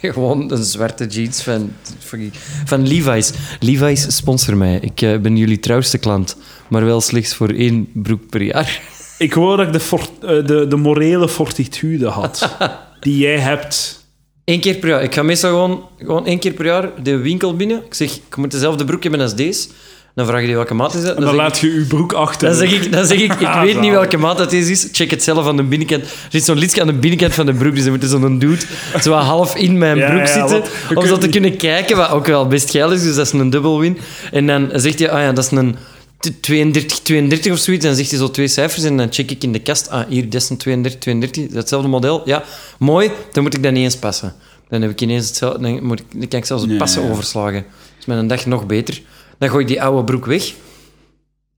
S1: Gewoon een zwarte jeans van, fucking- van Levi's. Levi's sponsor mij. Ik eh, ben jullie trouwste klant, maar wel slechts voor één broek per jaar.
S2: Ik wou dat ik de, fort- eh, de, de morele fortitude had die jij hebt.
S1: Eén keer per jaar. Ik ga meestal gewoon, gewoon één keer per jaar de winkel binnen. Ik zeg, ik moet dezelfde broek hebben als deze. Dan vraag je die welke maat is dat.
S2: En
S1: Dan
S2: dan
S1: zeg ik-
S2: laat je je broek achter.
S1: Dan zeg ik, dan zeg ik, ik
S2: Ah,
S1: weet niet
S2: zalig.
S1: welke maat dat is. is. Check het zelf aan de binnenkant. Er zit zo'n lidje aan de binnenkant van de broek, dus dan moet er zo'n dude zo wat half in mijn
S2: Ja,
S1: broek
S2: ja,
S1: zitten.
S2: want je
S1: om
S2: kunt
S1: zo te
S2: niet-
S1: kunnen kijken, wat ook wel best geil is. Dus dat is een dubbelwin. En dan zegt hij, ah ja, dat is een... t- 32, 32 of zoiets, dan zegt hij zo twee cijfers en dan check ik in de kast. Ah, hier, dat is een 32, 32, dat is hetzelfde model. Ja, mooi, dan moet ik dat niet eens passen. Dan heb ik ineens hetzelfde, dan, moet ik, dan kan ik zelfs het
S2: Ja,
S1: passen
S2: ja.
S1: overslagen. Dat is met een dag nog beter. Dan gooi ik die oude broek weg.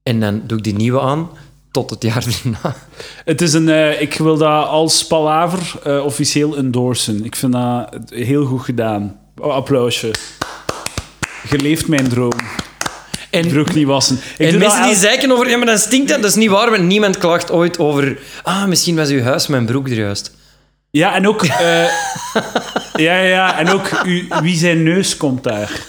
S1: En dan doe ik die nieuwe aan. tot het jaar daarna.
S2: Het is een, eh, ik wil dat als palaver eh, officieel endorsen. Ik vind dat heel goed gedaan. Oh, applausje. Geleefd mijn droom.
S1: En-
S2: Broek niet wassen. Ik doe
S1: en
S2: dat
S1: mensen die
S2: elk-
S1: zeiken over, ja, maar dat stinkt dat. Dat is niet waar, want niemand klaagt ooit over... Ah, misschien was uw huis mijn broek er juist.
S2: Ja, en ook... eh, ja, ja, ja, en ook u- wie zijn neus komt daar.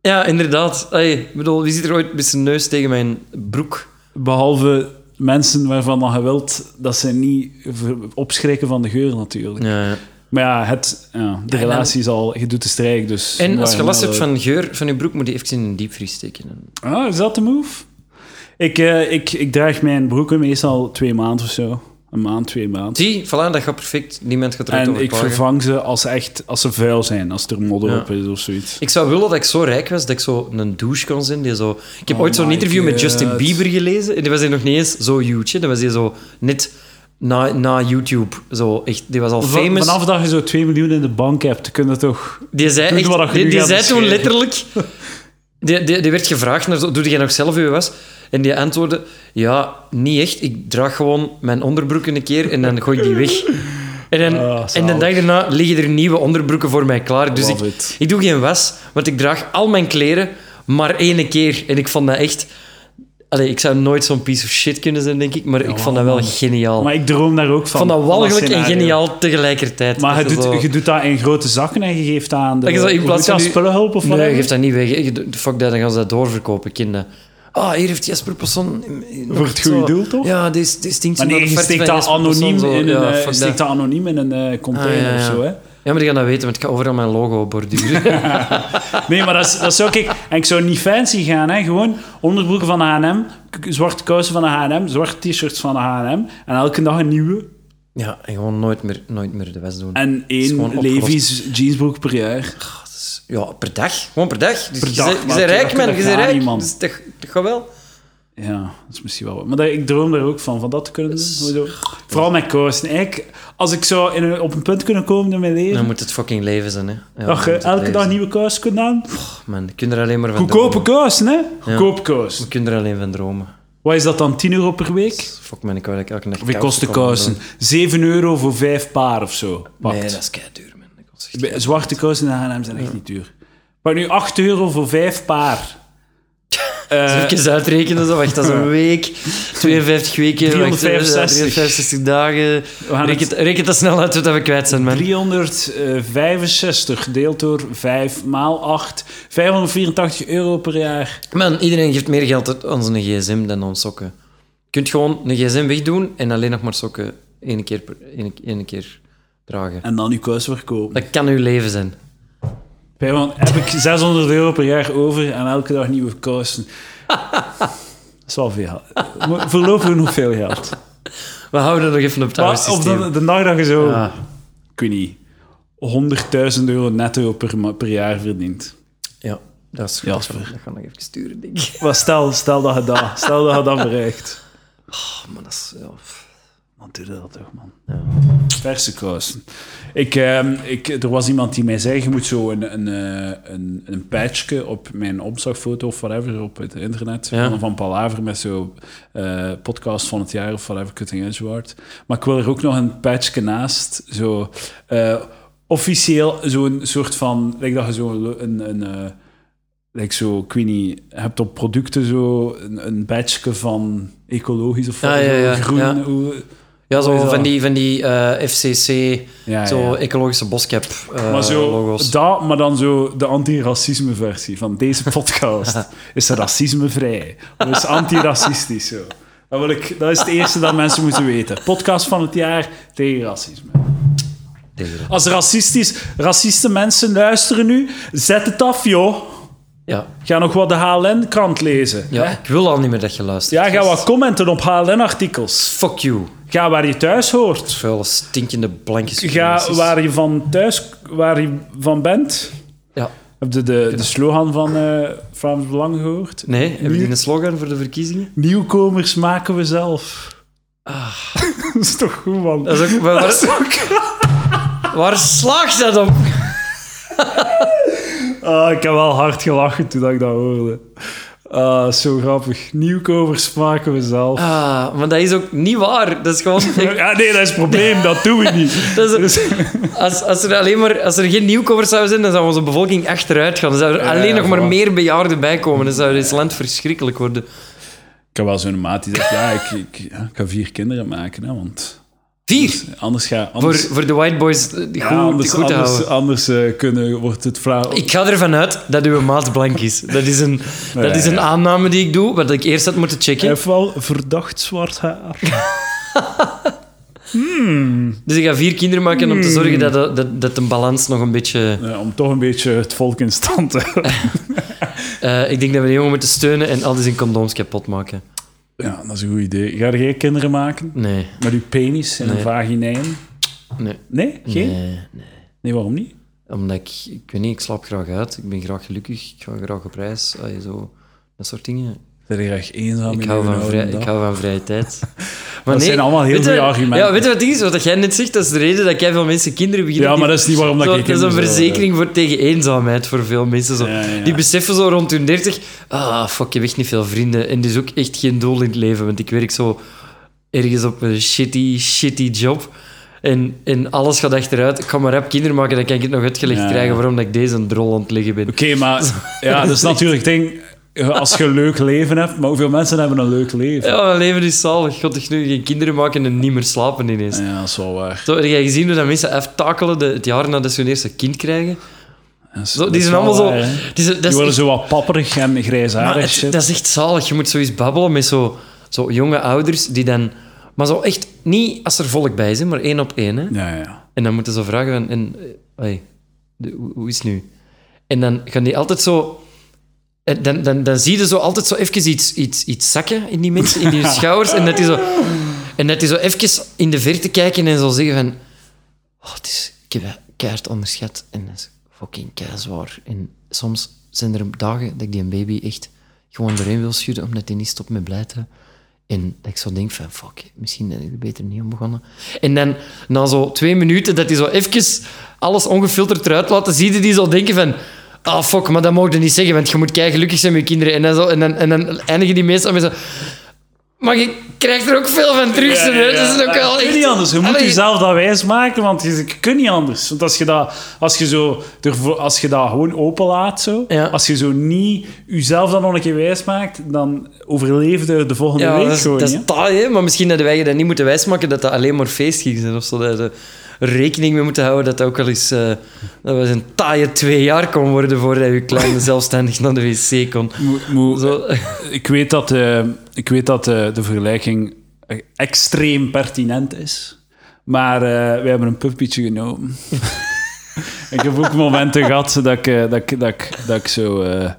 S1: Ja, inderdaad. Ai, ik bedoel, wie zit er ooit met zijn neus tegen mijn broek?
S2: Behalve mensen waarvan dan gewild dat ze niet ver- opschrikken van de geur natuurlijk.
S1: Ja, ja.
S2: Maar ja, het, ja de
S1: en-
S2: relatie is al... Je doet de strijk, dus...
S1: En als je
S2: waarom
S1: last hebt
S2: wel-
S1: van geur van je broek, moet je even in een diepvries steken.
S2: Ah, is dat de move? Ik, eh, ik, ik draag mijn broeken meestal twee maanden of zo. Een maand, twee maanden.
S1: Zie, voilà, dat gaat perfect. Niemand gaat eruit
S2: En
S1: over
S2: ik
S1: klagen.
S2: vervang ze als ze, echt, als ze vuil zijn, als er modder
S1: Ja.
S2: op is of zoiets.
S1: Ik zou willen dat ik zo rijk was dat ik zo een douche kon zijn. Die zo... Ik heb
S2: Oh
S1: ooit zo'n
S2: my
S1: interview met Justin
S2: God.
S1: Bieber gelezen. En die was hij nog niet eens zo huge. hè. Die was hij zo net na, na YouTube. Zo echt, die was al
S2: Van-
S1: famous.
S2: Vanaf dat je zo 2 miljoen in de bank hebt, kun je toch...
S1: Die zei,
S2: Doe wat
S1: echt,
S2: je
S1: die,
S2: nu
S1: die
S2: gaat
S1: zei toen
S2: beschrijven.
S1: letterlijk... Die, die, die werd gevraagd, naar, zo, doe jij nog zelf je was? En die antwoordde, ja, niet echt. Ik draag gewoon mijn onderbroeken een keer en dan gooi ik die weg. En dan,
S2: Ah, zalig.
S1: en de dag daarna liggen er nieuwe onderbroeken voor mij klaar. Dus ik,
S2: Love it.
S1: ik doe geen was, want ik draag al mijn kleren maar één keer. En ik vond dat echt... Allee, ik zou nooit zo'n piece of shit kunnen zijn, denk ik, maar ik vond dat wel geniaal.
S2: Maar ik droom daar ook van.
S1: ik vond dat walgelijk en
S2: scenario.
S1: geniaal tegelijkertijd.
S2: Maar je
S1: Dat je
S2: doet,
S1: zo-
S2: je doet dat in grote zakken en je geeft dat aan de...
S1: Dat je zo in
S2: Eh, je
S1: plaats
S2: doet
S1: van
S2: dat
S1: nu-
S2: spullenhulp of
S1: Nee,
S2: whatever?
S1: geef dat niet weg. Ik- Fuck dat, dan gaan ze dat doorverkopen, kinderen. Ah, hier heeft Jesper Passon...
S2: Voor het goede doel, toch?
S1: Ja, dit dit stinkt zo
S2: Maar
S1: naar de
S2: nee, je
S1: verte
S2: steekt
S1: van
S2: dat
S1: Jesper Passon,
S2: anoniem,
S1: zo.
S2: in een,
S1: Ja,
S2: eh,
S1: fuck
S2: je steekt
S1: dat.
S2: dat anoniem in een eh, container
S1: Ah, ja,
S2: of
S1: ja.
S2: zo, hè?
S1: Ja, maar die gaan dat weten, want ik ga overal mijn logo op borduren.
S2: Nee, maar dat, is- dat zou ik... En ik zou niet fancy gaan, hè. Gewoon onderbroeken van de H&M, k- zwarte kousen van de H&M, zwarte t-shirts van de H&M. En elke dag een nieuwe.
S1: ja, en gewoon nooit meer, nooit meer de west doen.
S2: En
S1: is gewoon
S2: één
S1: opgelost.
S2: Levi's jeansbroek per jaar.
S1: Ja, per dag. Gewoon per dag. Dus
S2: Per
S1: je
S2: dag,
S1: bent- Je
S2: maar
S1: bent rijk,
S2: dat-
S1: man.
S2: dat
S1: Je bent
S2: gaat
S1: rijk.
S2: niet, man.
S1: Dus dat, dat gaat wel.
S2: Ja, dat is misschien wel wat. Maar dat, ik droom daar ook van, van dat te kunnen doen. Zo- Vooral met kousen. Eigenlijk, als ik zou in een- op een punt kunnen komen in mijn leven...
S1: Dan moet het fucking leven zijn, hè. Ja, dan
S2: dat
S1: moet
S2: je
S1: het
S2: elke
S1: leven
S2: dag
S1: zijn.
S2: nieuwe kousen kunt aan.
S1: Man, je kunt er alleen maar van
S2: Goedkope
S1: dromen.
S2: kousen, hè? Goedkope kousen.
S1: Je kunt er alleen van dromen.
S2: Wat is dat dan? 10 euro per week?
S1: Fuck, man, ik wou dat ik elke dag
S2: Wie kost de
S1: kon hebben.
S2: kousen? 7 euro voor 5 paar of zo. Pakt.
S1: Nee, dat is kei duur, man. Dat kost echt
S2: Bij- Zwarte kousen in H&M zijn echt niet duur. Maar nu 8 euro voor 5 paar. Eh,
S1: Even uitrekenen, zo. wacht, dat is een week. 52 weken, wacht, eh,
S2: 365.
S1: 365 dagen.
S2: gaan het-
S1: Reken, reken dat snel uit wat we kwijt zijn, man.
S2: 365 gedeeld door 5 maal 8. 584 euro per jaar.
S1: Man, iedereen geeft meer geld aan zijn gsm dan aan sokken. Je kunt gewoon een gsm wegdoen en alleen nog maar sokken één keer, per, één, één keer dragen.
S2: En dan uw kous verkopen.
S1: Dat kan uw leven zijn.
S2: Bij- want heb ik 600 euro per jaar over en elke dag nieuwe kousen. Dat is wel veel. Maar Voorlopig nog veel geld.
S1: We houden nog even op het oude
S2: Maar, of
S1: systeem.
S2: dan, de dag dat je zo,
S1: Ja.
S2: ik weet niet, 100.000 euro netto per, ma- per jaar verdient.
S1: Ja, dat is goed. Dat
S2: Jasper.
S1: gaan dat gaan we nog even sturen, denk ik.
S2: Maar stel, stel dat je dat, stel dat, je dat bereikt.
S1: Oh, maar dat is... Ja. pff.
S2: Dan doe je dat toch, man. Verse kousen. Ik, ehm, ik, er was iemand die mij zei, je moet zo een, een, eh, een, een patchje op mijn opslagfoto of whatever op het internet
S1: Ja.
S2: van, van Palaver met zo eh, podcast van het jaar of whatever, Cutting Edge Award. Maar ik wil er ook nog een patchje naast, zo eh, officieel zo'n soort van, lijkt dat je zo een... een, een eh, like zo, ik weet niet, je hebt op producten zo een, een badge van ecologisch of
S1: Ja,
S2: zo,
S1: ja, ja,
S2: groen.
S1: ja.
S2: hoe-
S1: Ja, zo
S2: Hoe is
S1: van
S2: dat?
S1: die, van die eh, FCC,
S2: Ja,
S1: zo
S2: ja.
S1: ecologische boskap eh,
S2: Maar zo,
S1: logos.
S2: dat, maar dan zo de antiracisme-versie van deze podcast. is racismevrij. Of is antiracistisch zo? Dat, wil ik, dat is het eerste dat mensen moeten weten. Podcast van het jaar tegen racisme. Als racistisch, raciste mensen luisteren nu, zet het af, joh.
S1: Ja,
S2: Ga nog wat de HLN-krant lezen.
S1: ja
S2: hè?
S1: ik wil al niet meer dat je luistert.
S2: ja ga wat commenten op HLN-artikels.
S1: Fuck you.
S2: Ga waar je thuis hoort.
S1: Vuile, stinkende, blankjes.
S2: Ga waar je van thuis waar je van bent.
S1: Ja.
S2: Heb je de, de slogan van eh Vlaams Belang gehoord?
S1: Nee, hebben
S2: Nieuw-
S1: die een slogan voor de verkiezingen?
S2: Nieuwkomers maken we zelf. dat is toch goed, man?
S1: Ah. Dat is ook... Waar, waar slaagt dat op?
S2: Ah, ik heb wel hard gelachen toen dat ik dat hoorde. Ah, zo grappig. Nieuwkovers maken we zelf.
S1: Ah, maar dat is ook niet waar. Dat is gewoon... ik-
S2: Ja, ah, nee, dat is het probleem. Dat doen we niet.
S1: dat is-
S2: Dus-
S1: als, als, er alleen maar, als er geen nieuwkomers zouden zijn, dan zou onze bevolking achteruit gaan. Dan zou er
S2: Ja,
S1: alleen
S2: ja,
S1: nog maar
S2: voilà.
S1: meer bejaarden bij komen. Dan zou dit land verschrikkelijk worden.
S2: Ik heb wel zo'n maat die zegt, ja, ik, ik, ja, ik ga vier kinderen maken, hè, want
S1: Vier!
S2: anders ga...
S1: Voor,
S2: Anders,
S1: voor de white boys eh, goed,
S2: ja, anders,
S1: goed te
S2: anders,
S1: houden.
S2: anders eh, kunnen, wordt het flauw.
S1: Ik ga ervan uit dat uw maat blank is. Dat is een, dat is een
S2: ja.
S1: aanname die ik doe, wat ik eerst had moeten checken.
S2: heb wel verdacht zwart haar.
S1: Dus ik ga vier kinderen maken
S2: Hmm.
S1: om te zorgen dat, dat, dat, dat de balans nog een beetje...
S2: Eh, om toch een beetje het volk in stand te houden.
S1: eh, ik denk dat we de jongen moeten steunen en al die zijn condooms kapot maken.
S2: Ja, dat is een goed idee. Ga je geen kinderen maken?
S1: Nee,
S2: Met uw penis en
S1: Nee.
S2: een vaginijn?
S1: nee.
S2: Nee? Geen? Nee,
S1: Nee, nee.
S2: waarom niet?
S1: Omdat ik... Ik weet niet, ik slaap graag uit. Ik ben graag gelukkig. Ik ga graag op reis. Allee, zo, dat soort dingen.
S2: Zijn je graag eenzaam
S1: Ik
S2: in
S1: hou,
S2: uw
S1: van
S2: oude
S1: vrij,
S2: dag?
S1: ik hou van vrije tijd. Maar
S2: zijn allemaal heel
S1: weet je-
S2: goede argumenten.
S1: Ja, weet je wat het is? Wat jij net zegt, dat is de reden dat jij veel mensen kinderen begint.
S2: Ja, maar dat is niet waarom dat
S1: Zo,
S2: ik
S1: Dat is een
S2: kinderen zou
S1: verzekering voor tegen eenzaamheid voor veel mensen. Zo.
S2: Ja, ja.
S1: Die beseffen zo rond hun 30, ah, fuck, ik heb echt niet veel vrienden. En dus ook echt geen doel in het leven, want ik werk zo ergens op een shitty, shitty job. En, en alles gaat achteruit. Ik ga maar rap kinderen maken, dan kan ik het nog uitgelegd
S2: Ja, ja.
S1: krijgen waarom dat ik deze een drol aan het liggen ben.
S2: Oké, maar ja, dat is natuurlijk het ding. Als je een leuk leven hebt, maar hoeveel mensen hebben een leuk leven?
S1: Ja, mijn leven is zalig. God, ik nu geen kinderen maken en niet meer slapen ineens.
S2: Ja, dat is wel waar.
S1: Zo, heb jij gezien hoe dat mensen aftakelen de, het jaar nadat ze hun eerste kind krijgen?
S2: Dat is-
S1: Zo,
S2: dat
S1: die
S2: is
S1: zijn
S2: wel
S1: allemaal zo...
S2: waar, hè.
S1: Die, zijn- dat
S2: Die
S1: is
S2: worden
S1: echt,
S2: zo wat papperig en
S1: maar
S2: grijsharig.
S1: het-
S2: shit.
S1: dat is echt zalig. Je moet zoiets babbelen met zo, zo jonge ouders die dan... Maar zo echt niet als er volk bij is, hè, maar één op één. Hè.
S2: Ja, ja.
S1: En dan moeten ze vragen van... En, eh, hey, de- hoe- hoe is het nu? En dan gaan die altijd zo... en Dan, dan, dan zie je zo altijd zo even iets, iets, iets zakken in die mensen, in die schouwers. En dat die zo, en dat die zo even in de verte kijken en zo zeggen van... Oh, het is, ik heb dat keihard onderschat en dat is fucking keizwaar. En soms zijn er dagen dat ik die baby echt gewoon doorheen wil schudden omdat die niet stopt met blijten. En dat ik zo denk van, fuck, misschien ben ik er beter niet aan begonnen. En dan, na zo twee minuten, dat die zo even alles ongefilterd eruit laten, zie je die zo denken van... Ah, fuck, maar dat mogen je niet zeggen, want je moet kei gelukkig zijn met je kinderen. En dan, zo, en dan, en dan eindigen die meestal met zo... Maar je krijgt er ook veel van terug,
S2: Ja,
S1: zo,
S2: ja,
S1: hè. Dus, Dat is
S2: ja.
S1: ook wel
S2: Je kunt
S1: echt...
S2: niet anders. Je moet
S1: Allee.
S2: jezelf dat wijs maken, want je, je kunt niet anders. Want als je dat, als je zo, ervoor- als je dat gewoon openlaat, zo,
S1: Ja.
S2: als je zo niet jezelf dan nog een keer wijs maakt, dan overleef je de volgende
S1: Ja,
S2: week
S1: dat is,
S2: gewoon.
S1: dat
S2: hè.
S1: is taai, hè? maar misschien dat wij je dat niet moeten wijsmaken dat dat alleen maar feestgingen zijn of zo. Dat we er rekening mee moeten houden dat dat ook wel eens eh, dat was een taaie twee jaar kon worden voordat je kleine zelfstandig naar de wc kon.
S2: Moe- moe-
S1: Zo,
S2: Ik weet dat, eh, ik weet dat eh, de vergelijking eh, extreem pertinent is. Maar eh, wij hebben een puppietje genomen. ik heb ook momenten gehad dat ik, eh, dat ik, dat ik, dat ik zo... eh, dat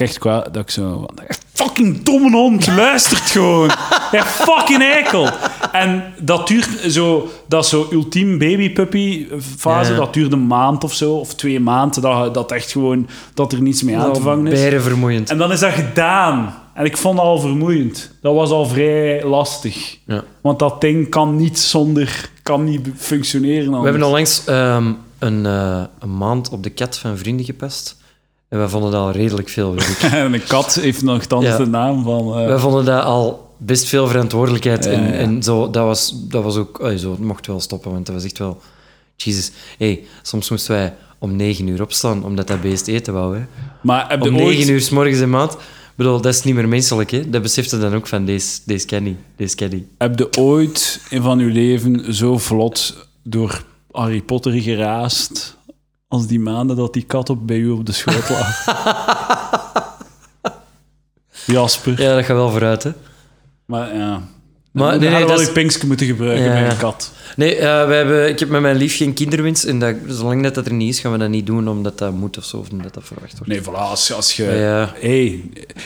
S2: ik echt kwa- Dat ik zo... Fucking domme hond, luistert gewoon. Ja, fucking eikel. En dat duurt zo... Dat zo ultiem babypuppy fase,
S1: Ja.
S2: dat duurt een maand of zo. Of twee maanden. Dat, dat echt gewoon... Dat er niets mee aan te vangen is.
S1: bijre vermoeiend.
S2: En dan is dat gedaan. En ik vond dat al vermoeiend. Dat was al vrij lastig.
S1: Ja.
S2: Want dat ding kan niet zonder... Kan niet functioneren
S1: We
S2: anders.
S1: hebben onlangs ehm een, eh, een maand op de kat van vrienden gepast en we vonden dat al redelijk veel werk.
S2: En een kat heeft nog dan
S1: Ja.
S2: de naam van... eh,
S1: Wij vonden dat al best veel verantwoordelijkheid. en,
S2: ja.
S1: en zo, dat was, dat was ook... allee, zo, het mocht wel stoppen, want dat was echt wel... Jezus. Hey, soms moesten wij om negen uur opstaan, omdat dat beest eten wou. Hè.
S2: maar heb je
S1: Om
S2: ooit...
S1: negen uur s morgens en maand. Ik bedoel, dat is niet meer menselijk. Hè. Dat besefte dan ook van, deze, deze ken niet. Deze ken niet.
S2: Heb je ooit in van uw leven zo vlot door Harry Potter geraasd als die maanden dat die kat op bij u op de schoot lag? Jasper.
S1: Ja, dat gaat wel vooruit, hè.
S2: Maar ja...
S1: Maar
S2: Maar,
S1: nee,
S2: nee,
S1: nee, dat
S2: wel
S1: is-
S2: je pinkske moeten gebruiken
S1: Ja,
S2: bij
S1: ja.
S2: een kat.
S1: Nee, eh, wij hebben, ik heb met mijn lief geen kinderwens. En dat, zolang dat, dat er niet is, gaan we dat niet doen, omdat dat moet of zo. Of omdat dat verwacht wordt.
S2: Nee, voilà, als, als je...
S1: Ja.
S2: Hey,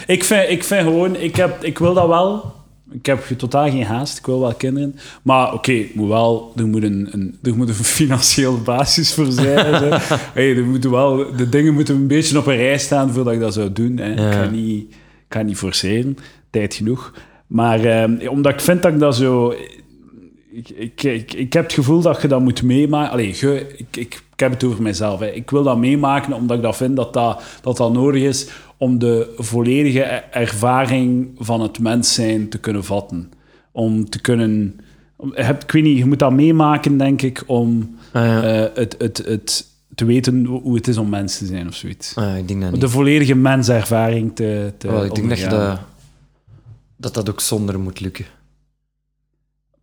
S2: ik, vind, ik vind gewoon... Ik, heb, ik wil dat wel. Ik heb ge- totaal geen haast. Ik wil wel kinderen. Maar oké, ik moet wel... Er moet een, een, er moet een financiële basis voor zijn. hè. hey, er moeten wel, de dingen moeten een beetje op een rij staan voordat ik dat zou doen. Hè. Ik
S1: Ja.
S2: ga niet, ik ga niet forceren. Tijd genoeg. Maar eh, omdat ik vind dat ik dat zo ik, ik, ik, ik heb het gevoel dat je dat moet meemaken. Allee, je, ik, ik, Ik heb het over mezelf. Hè. Ik wil dat meemaken omdat ik dat vind dat dat, dat dat nodig is om de volledige e- ervaring van het mens zijn te kunnen vatten. Om te kunnen... om- je hebt- Ik weet niet, je moet dat meemaken, denk ik, om
S1: Ah, ja.
S2: eh, het, het, het, te weten hoe hoe het is om mens te zijn of zoiets.
S1: Ah, ik denk dat niet.
S2: De volledige menservaring te, te
S1: Wel, ik denk dat, je
S2: ondergaan.
S1: dat, dat dat ook zonder moet lukken.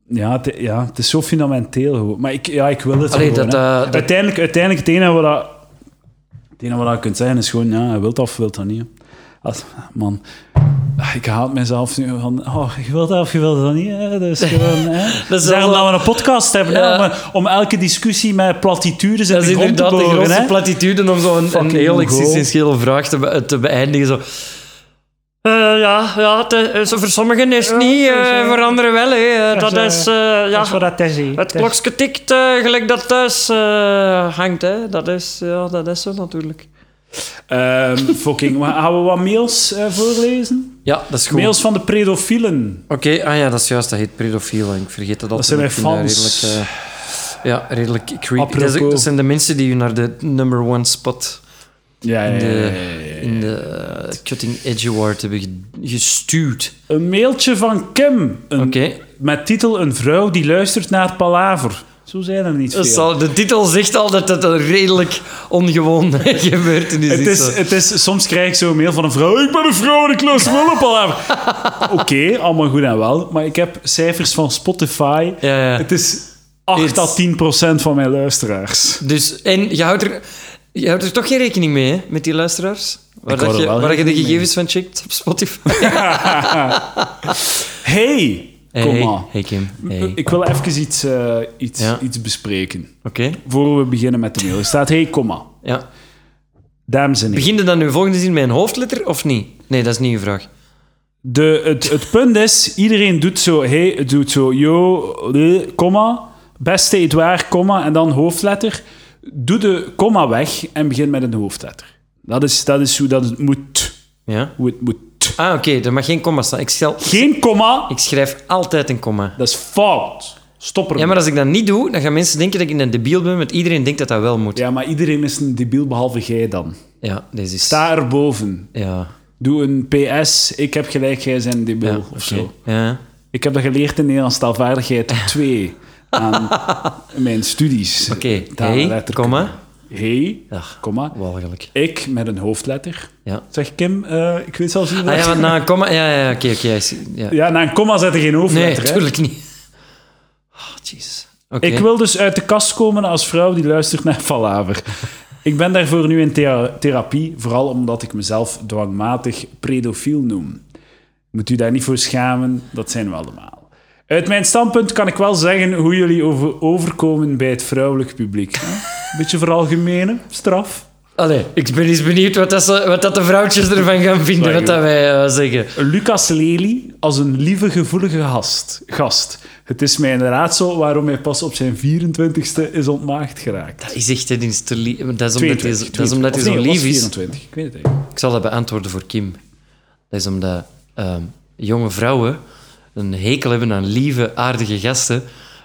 S2: Ja, het, ja, het is zo fundamenteel. gewoon. Maar ik, ja, ik wil het
S1: Allee,
S2: gewoon.
S1: dat,
S2: hè.
S1: eh, dat-
S2: Uiteindelijk, uiteindelijk het enige wat, dat, het enige wat je kunt zeggen is gewoon, ja, je wilt dat of je wilt dat niet. hè. Als, man, ah, ik haat mezelf nu van, oh, je wilt dat of je wilt dat niet. Hè? Dus gewoon, hè.
S1: Dat is
S2: Daarom
S1: wel-
S2: dat we een podcast hebben, hè,
S1: Ja.
S2: om, om elke discussie met platitudes in
S1: Dat
S2: de
S1: is
S2: grond te
S1: inderdaad de
S2: boren,
S1: grootste
S2: hè.
S1: platitude om zo'n een
S2: Fucking
S1: heel
S2: Mongool.
S1: existentiële vraag te, be- te beëindigen. Zo. Eh, ja, ja het is- eh, voor sommigen is het niet, eh, voor anderen wel. Hè. Eh, Dat,
S4: Dat is,
S1: is, eh, ja,
S4: Dat is wat dat is, hè.
S1: het
S4: Dat is-
S1: klokje tikt eh, gelijk dat thuis eh, hangt. Hè. Dat, is, ja, dat is zo natuurlijk.
S2: Ehm, fucking, maar gaan we wat mails eh, voorlezen?
S1: Ja, dat is goed.
S2: Mails van de pedofielen.
S1: Oké, ah ja, dat is juist. Dat heet pedofiel. en Ik vergeet dat altijd.
S2: zijn
S1: Ik
S2: mijn
S1: vind dat
S2: fans.
S1: Redelijk, eh, ja, redelijk creepy. Dat, is-
S2: Apropos.
S1: dat zijn de mensen die u naar de number one spot
S2: Ja, ja,
S1: in
S2: ja, ja,
S1: de,
S2: ja, ja.
S1: in de eh, Cutting Edge Award hebben ge- gestuurd.
S2: Een mailtje van Kim. Een,
S1: Oké.
S2: Met titel Een vrouw die luistert naar Palaver. Zo zijn er niet veel.
S1: Dus al- de titel zegt al dat het een redelijk ongewoon gebeurtenis
S2: Het
S1: is.
S2: is, het is, soms krijg ik zo'n mail van een vrouw. Ik ben een vrouw en ik luister wel naar Palaver. Oké, allemaal goed en wel. Maar ik heb cijfers van Spotify.
S1: Ja, ja.
S2: Het is 8
S1: It's-
S2: à 10 procent van mijn luisteraars.
S1: Dus, en je houdt, er, je houdt er toch geen rekening mee, hè, met die luisteraars? Waar,
S2: hou
S1: dat
S2: er
S1: je,
S2: wel
S1: waar je de
S2: rekening
S1: gegevens van checkt op Spotify.
S2: Hey, kom maar.
S1: hey Kim. Hey. Oké.
S2: Ik wil even iets, eh, iets,
S1: Ja.
S2: iets bespreken. Voor we beginnen met de mail. Er staat, hey, kom maar.
S1: Ja.
S2: Dames en heren.
S1: Beginde dan uw volgende zin met een hoofdletter of niet? Nee, dat is niet uw vraag.
S2: De, het, het punt is, iedereen doet zo, hey, doet zo, yo, eh, komma, beste Edouard, komma, en dan hoofdletter. Doe de komma weg en begin met een hoofdletter. Dat is, dat is hoe dat het moet.
S1: Ja?
S2: Hoe het moet.
S1: Ah, oké, er mag geen komma staan. Ik, stel,
S2: Geen komma,
S1: ik schrijf altijd een komma.
S2: dat is fout. Stop ermee.
S1: Ja, maar als ik dat niet doe, dan gaan mensen denken dat ik een debiel ben, want iedereen denkt dat dat wel moet. Ja,
S2: Ja, maar iedereen is een debiel, behalve jij dan.
S1: deze is...
S2: Sta erboven.
S1: Ja.
S2: Doe een PS, ik heb gelijk, jij zijn debiel,
S1: Ja,
S2: of
S1: oké.
S2: zo.
S1: Ja.
S2: Ik heb dat geleerd in Nederlands taalvaardigheid 2 aan mijn studies.
S1: Oké,
S2: Taal-
S1: hey,
S2: letterkunde.
S1: komma.
S2: Hey,
S1: Ach,
S2: komma.
S1: walgelijk.
S2: Ik met een hoofdletter.
S1: Ja.
S2: Zeg Kim, eh, ik weet zelfs niet
S1: Ah
S2: wat-
S1: ja, want na een komma... Ja, ja, oké, oké. I see. ja.
S2: Ja, na een komma zet er geen
S1: Nee,
S2: hoofdletter. hè.
S1: natuurlijk niet. Ah, jeez. Oké.
S2: Ik wil dus uit de kast komen als vrouw die luistert naar Palaver. Ik ben daarvoor nu in thea- therapie, vooral omdat ik mezelf dwangmatig pedofiel noem. Moet u daar niet voor schamen, dat zijn we allemaal. Uit mijn standpunt kan ik wel zeggen hoe jullie over overkomen bij het vrouwelijk publiek. Beetje veralgemene straf.
S1: Allee, ik ben eens benieuwd wat, dat ze, wat dat de vrouwtjes ervan gaan vinden, wat dat wij eh, zeggen.
S2: Lucas Lely als een lieve, gevoelige gast. gast. Het is mij een raadsel waarom hij pas op zijn 24ste is ontmaagd geraakt.
S1: Dat is echt, hè, die is te lief. Dat is omdat
S2: 22,
S1: hij- dat is omdat hij zo
S2: Of nee,
S1: lief
S2: was
S1: is.
S2: 24, ik weet het eigenlijk.
S1: Ik zal dat beantwoorden voor Kim. Dat is omdat ehm, jonge vrouwen een hekel hebben aan lieve, aardige gasten.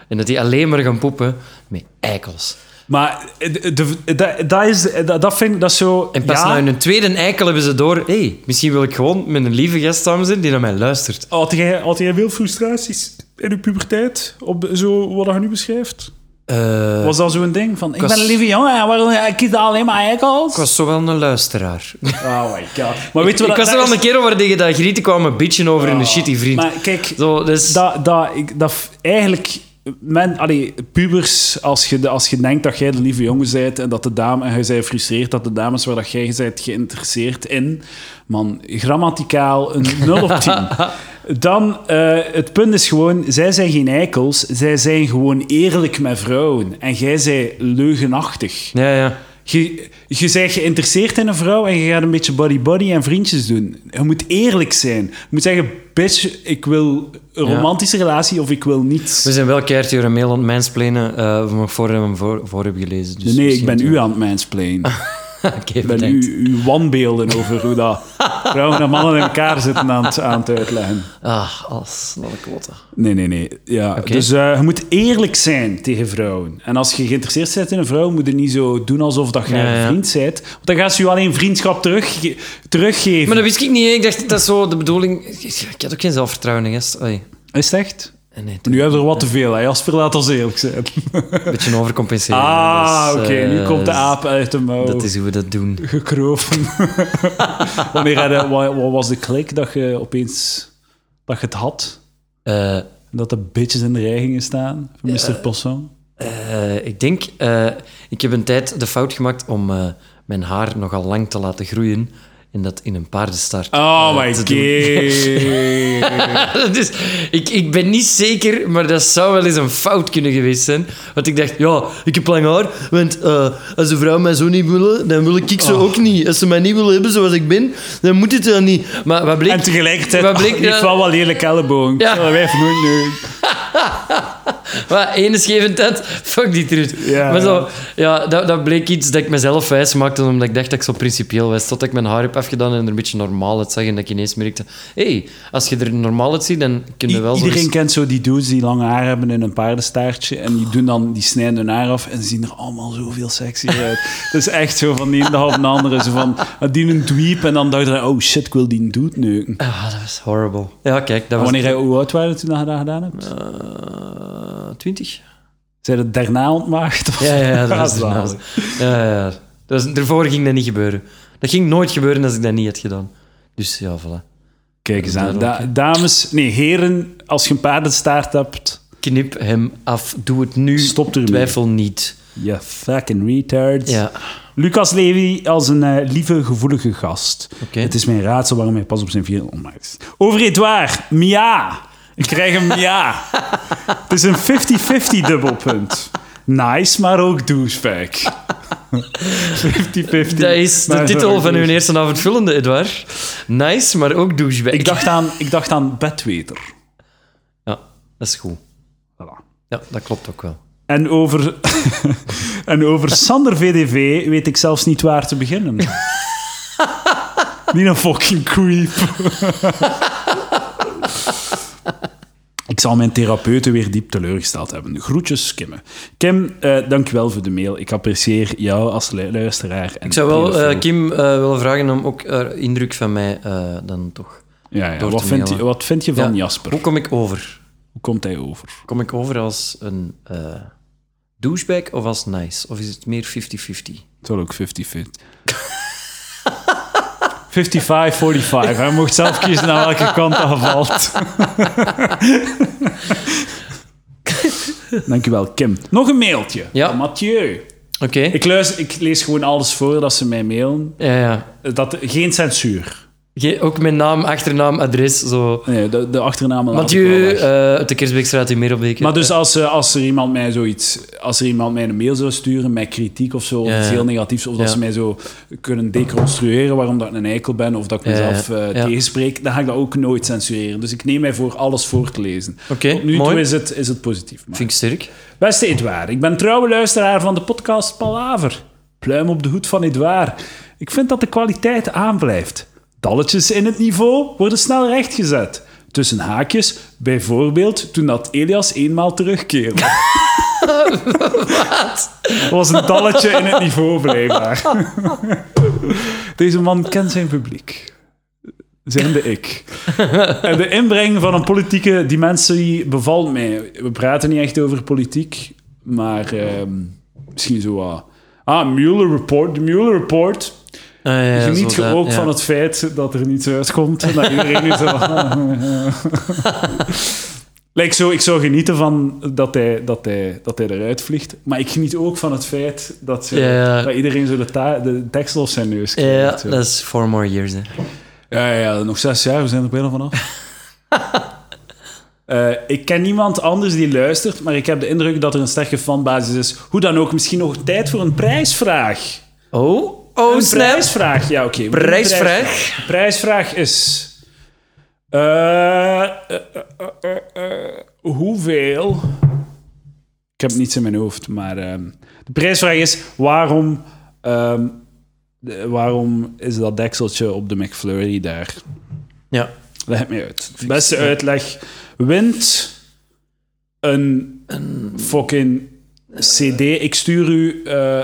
S1: En dat die alleen maar gaan poepen met eikels.
S2: Maar eh, de- de- dat- dat is, eh, dat, dat vind ik, dat is zo...
S1: En pas nou
S2: ja,
S1: na hun tweede eikel hebben ze door... Hé, hey, misschien wil ik gewoon met een lieve gast samen zijn die naar mij luistert.
S2: Had jij, had jij veel frustraties in je puberteit? Op zo wat je nu beschrijft?
S1: Eh,
S2: Was dat zo'n ding? Van, ik
S1: was-
S2: ben een lieve jongen, en waarom ik kies alleen maar eikels?
S1: ik was zo wel een luisteraar.
S2: Oh my god. Maar weet je
S1: ik
S2: wat...
S1: was er wel een
S2: dat is- Oh,
S1: keer over tegen dat grieten kwamen bitchen over in de shitty vriend.
S2: Maar kijk,
S1: Zo, dus...
S2: dat, dat, ik, dat f- eigenlijk... Men, allee, pubers, als je, de- als je denkt dat jij de lieve jongen bent en dat de dame, en je zij frustreert dat de dames waar dat jij bent geïnteresseerd in, man, grammaticaal een 0 op 10. Dan, eh, het punt is gewoon, zij zijn geen eikels, zij zijn gewoon eerlijk met vrouwen. En jij zij leugenachtig.
S1: Ja, ja.
S2: Je, je bent geïnteresseerd in een vrouw en je gaat een beetje buddy-buddy en vriendjes doen. Je moet eerlijk zijn. Je moet zeggen, bitch, ik wil een
S1: Ja.
S2: romantische relatie of ik wil niets.
S1: We zijn wel keihard hier een mail aan het mansplainen eh van voor hem voor, voor heb gelezen. Dus
S2: nee, ik
S1: misschien
S2: ben
S1: zo.
S2: u aan het mansplainen.
S1: Oké,
S2: Ik ben
S1: bedankt.
S2: u, uw wanbeelden over hoe dat Vrouwen en mannen in elkaar zitten aan het, aan het uitleggen.
S1: Ah, als snelle klotten.
S2: Nee, nee, nee. Ja. Dus eh, je moet eerlijk zijn tegen vrouwen. En als je geïnteresseerd bent in een vrouw, moet je niet zo doen alsof dat je
S1: Ja,
S2: haar
S1: ja.
S2: vriend bent. Want dan gaan ze je alleen vriendschap terugge- teruggeven.
S1: Maar dat wist ik niet. hè. Ik dacht, dat is zo de bedoeling... Ik had ook geen zelfvertrouwen in gast. Oei.
S2: Is het echt?
S1: En nee,
S2: Nu hebben we er wat te veel. Hè. Jasper, laat ons eerlijk zijn.
S1: een beetje overcompenseren.
S2: Ah,
S1: Dus,
S2: oké.
S1: eh,
S2: nu komt de aap uit de mouw.
S1: Dat is hoe we dat doen.
S2: gekroven. Wanneer had je- wa- wat was de klik dat je opeens dat je het had?
S1: Eh,
S2: En Dat de bitches in de rij gingen staan voor Mr. Poisson?
S1: eh, ik denk... eh, ik heb een tijd de fout gemaakt om eh, mijn haar nogal lang te laten groeien. En dat in een paardenstaart.
S2: Oh my
S1: te dus ik, ik ben niet zeker, maar dat zou wel eens een fout kunnen geweest zijn. Want ik dacht, ja, ik heb lang haar, want eh, als de vrouw mij zo niet willen, dan wil ik ze ook niet. Als ze mij niet willen hebben zoals ik ben, dan moet het dan niet. Maar wat bleek...
S2: En tegelijkertijd,
S1: Wat
S2: oh,
S1: bleek
S2: die
S1: dat-
S2: vrouw wel lelijk elleboog.
S1: Ja.
S2: Ja. Dat wijf nooit nu.
S1: Wat, ene scheve tent, fuck die truut.
S2: Ja.
S1: maar zo, ja, dat, dat bleek iets dat ik mezelf wijs maakte, omdat ik dacht dat ik zo principieel was. Tot ik mijn haar heb afgedaan en er een beetje normaal uit zag. En dat ik ineens merkte, hé, hey, als je er normaal uit ziet, dan kunnen we wel
S2: I-
S1: zo
S2: Iedereen
S1: eens-
S2: kent zo die dudes die lang haar hebben in een paardenstaartje. En die, doen dan, die snijden hun haar af en ze zien er allemaal zoveel sexier uit. Dat is echt zo van de ene dag op de andere. Zo van, die een dweep en dan dacht je, oh shit, ik wil die een dude neuken.
S1: Ah, dat was horrible. Ja, kijk, dat
S2: En
S1: was...
S2: wanneer jij hoe oud waren toen je dat gedaan hebt?
S1: Eh, Twintig?
S2: Zijn het daarna ontmaagd? of-
S1: Ja, ja, ja, dat was
S2: is
S1: ernaast.
S2: zalig.
S1: Ja, ja, ja. Dat was, daarvoor ging dat niet gebeuren. Dat ging nooit gebeuren als ik dat niet had gedaan. Dus ja, voilà.
S2: Kijk eens aan.
S1: Duidelijk,
S2: Da- dames, nee, heren, als je een paardenstaart hebt,
S1: Knip hem af. Doe het nu.
S2: Stop ermee.
S1: Twijfel niet.
S2: je fucking retard.
S1: Ja.
S2: Lucas Levy als een eh, lieve, gevoelige gast.
S1: Oké.
S2: Het is mijn raadsel waarom hij pas op zijn vierde onmaakt. Over Edouard, Mia. Ik krijg een Mia. Het is een 50-50 dubbelpunt. Nice, maar ook douchebag. 50-50.
S1: Dat is de
S2: maar
S1: titel
S2: ook
S1: van uw
S2: douche-
S1: eerste avondvullende, Edouard. Nice, maar ook douchebag.
S2: Ik dacht aan, ik dacht aan bedweter.
S1: Ja, dat is goed.
S2: Voilà.
S1: Ja, dat klopt ook wel.
S2: En over, en over Sander VDV weet ik zelfs niet waar te beginnen. niet een fucking creep. ik zal mijn therapeuten weer diep teleurgesteld hebben. Groetjes, Kim. Kim, eh dankjewel voor de mail. Ik apprecieer jou als lu- luisteraar. En
S1: Ik zou wel
S2: pedofiel.
S1: eh, Kim eh, willen vragen om ook haar indruk van mij eh, dan toch.
S2: ja, ja.
S1: door
S2: Wat,
S1: te
S2: vind je,
S1: mailen.
S2: wat vind je van
S1: Ja.
S2: Jasper?
S1: Hoe kom ik over?
S2: Hoe komt hij over?
S1: Kom ik over als een eh, douchebag of als nice? Of is het meer 50-50?
S2: Het was ook 50-50. 55-45. Hij mocht zelf kiezen naar welke kant dat valt. Dankjewel, Kim. Nog een mailtje.
S1: Ja.
S2: van Mathieu.
S1: Oké.
S2: Ik, luister, ik lees gewoon alles voor dat ze mij mailen.
S1: Ja, ja.
S2: Dat, geen censuur.
S1: Ge- ook mijn naam, achternaam, adres, zo.
S2: Nee, de, de achternamen laat ik wel
S1: Mathieu,
S2: weg.
S1: eh, uit de Kersbeekstraat in Merelbeek.
S2: Maar dus als, eh, als er iemand mij zoiets, als er iemand mij een mail zou sturen met kritiek of zo, of
S1: Ja,
S2: iets
S1: ja.
S2: heel negatiefs, of dat
S1: Ja.
S2: ze mij zo kunnen deconstrueren waarom dat ik een eikel ben, of dat ik
S1: Ja, ja.
S2: mezelf eh,
S1: Ja.
S2: tegenspreek, dan ga ik dat ook nooit censureren. Dus ik neem mij voor alles voor te lezen.
S1: Oké,
S2: Tot nu
S1: mooi.
S2: toe is het, is het positief. maar-
S1: Vind ik sterk.
S2: Beste Edouard, ik ben trouwe luisteraar van de podcast Palaver. Pluim op de hoed van Edouard. Ik vind dat de kwaliteit aanblijft. Dalletjes in het niveau worden snel rechtgezet. Tussen haakjes, bijvoorbeeld toen dat Elias eenmaal terugkeerde. Wat? Er was een dalletje in het niveau, blijkbaar. Deze man kent zijn publiek. Zijnde ik. En Eh, de inbreng van een politieke dimensie bevalt mij. We praten niet echt over politiek, maar ehm, misschien zo wat. Ah, Mueller Report. De Mueller Report.
S1: Ah, ja, ja,
S2: Geniet
S1: zo
S2: je
S1: dat,
S2: ook
S1: ja.
S2: van het feit dat er niets uitkomt. En dat iedereen is zo... Like zo, ik zou genieten van dat hij, dat, hij, dat hij eruit vliegt. Maar ik geniet ook van het feit dat, zo-
S1: Ja, ja.
S2: dat iedereen zo de, ta- de deksel op zijn neus
S1: Ja,
S2: krijgt. zo.
S1: dat is four more years. Hè.
S2: Ja, ja, ja, nog zes jaar, we zijn er bijna vanaf. Eh ik ken niemand anders die luistert, maar ik heb de indruk dat er een sterke fanbasis is. Hoe dan ook, misschien nog tijd voor een prijsvraag.
S1: Oh, oh,
S2: een
S1: snap.
S2: prijsvraag, ja, oké. we doen een
S1: Prijsvraag.
S2: prijsvraag. Prijsvraag is... eh, eh, eh, eh, eh, hoeveel... Ik heb niets in mijn hoofd, maar... ehm, de prijsvraag is, waarom ehm, de- waarom is dat dekseltje op de McFlurry daar?
S1: Ja. eh,
S2: Leg het mij uit. Beste uitleg. Wint een fucking CD. Ik stuur u eh,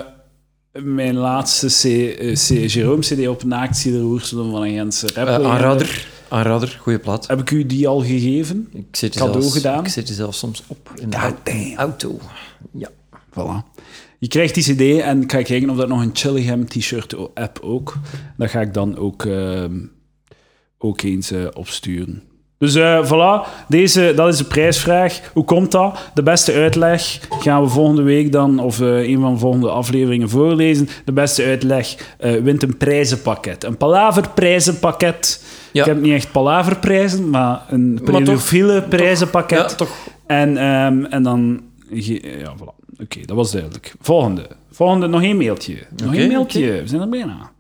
S2: mijn laatste C, eh, C, Jerome CD op Naakt Sieder Woerstelen van een Gentse
S1: Eh,
S2: rapper.
S1: aanrader. Aanrader, goede plaat.
S2: Heb ik u die al gegeven?
S1: Ik zit er
S2: Cadeau
S1: zelfs,
S2: gedaan.
S1: Ik zit er zelfs soms op in de
S2: God
S1: au-
S2: damn.
S1: auto. Ja.
S2: Voilà. Je krijgt die CD en ik ga kijken of dat nog een Chillingham t-shirt o- app ook. Dat ga ik dan ook, ehm, ook eens eh, opsturen. Dus eh, voilà, Deze, dat is de prijsvraag. Hoe komt dat? De beste uitleg gaan we volgende week dan, of eh, een van de volgende afleveringen voorlezen. De beste uitleg eh, wint een prijzenpakket. Een palaver prijzenpakket.
S1: Ja.
S2: Ik heb niet echt palaverprijzen, maar een
S1: Maar toch-
S2: pedofiele prijzenpakket.
S1: Ja, toch.
S2: En, ehm, en dan... ge- Ja, voilà. Oké, dat was duidelijk. Volgende. Volgende, nog één mailtje. Nog
S1: Oké,
S2: één mailtje. We zijn er bijna.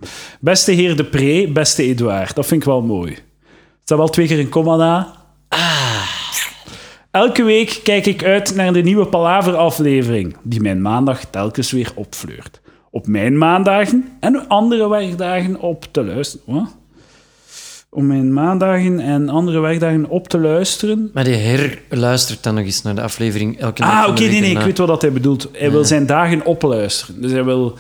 S2: Beste heer De Pre, beste Edouard. Dat vind ik wel mooi. Er staat wel twee keer een komma na. Ah. Elke week kijk ik uit naar de nieuwe Palaver-aflevering, die mijn maandag telkens weer opfleurt. Op mijn maandagen en andere werkdagen op te luisteren. Wat? Om mijn maandagen en andere werkdagen op te luisteren.
S1: Maar die herluistert dan nog eens naar de aflevering elke dag
S2: Ah,
S1: van
S2: oké,
S1: de week
S2: nee, nee, ik
S1: erna.
S2: weet wel wat hij bedoelt. Hij wil zijn dagen opluisteren. Dus hij wil,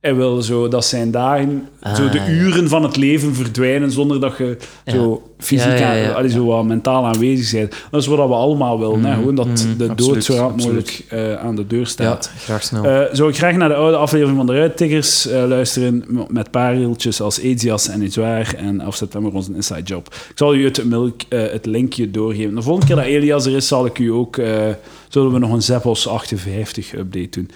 S2: hij wil zo dat zijn dagen, zo de
S1: Ah, ja.
S2: uren van het leven verdwijnen zonder dat je zo fysiek,
S1: Ja, ja, ja. Mhm.
S2: aan- allee, zo wat mentaal aanwezig bent. Dat is wat we allemaal willen. hè. Gewoon dat de dood
S1: absoluut,
S2: zo hard
S1: absoluut.
S2: mogelijk eh, aan de deur
S1: Ja,
S2: staat.
S1: graag snel.
S2: Eh, zou ik graag naar de oude aflevering van de Ruittiggers eh, luisteren m- met pareltjes als Ezias en Edouard en af september onze inside job. Ik zal u het, milk, eh, het linkje doorgeven. De volgende keer dat Elias er is, zal ik u ook, eh, zullen we nog een Zeppos 58 update doen.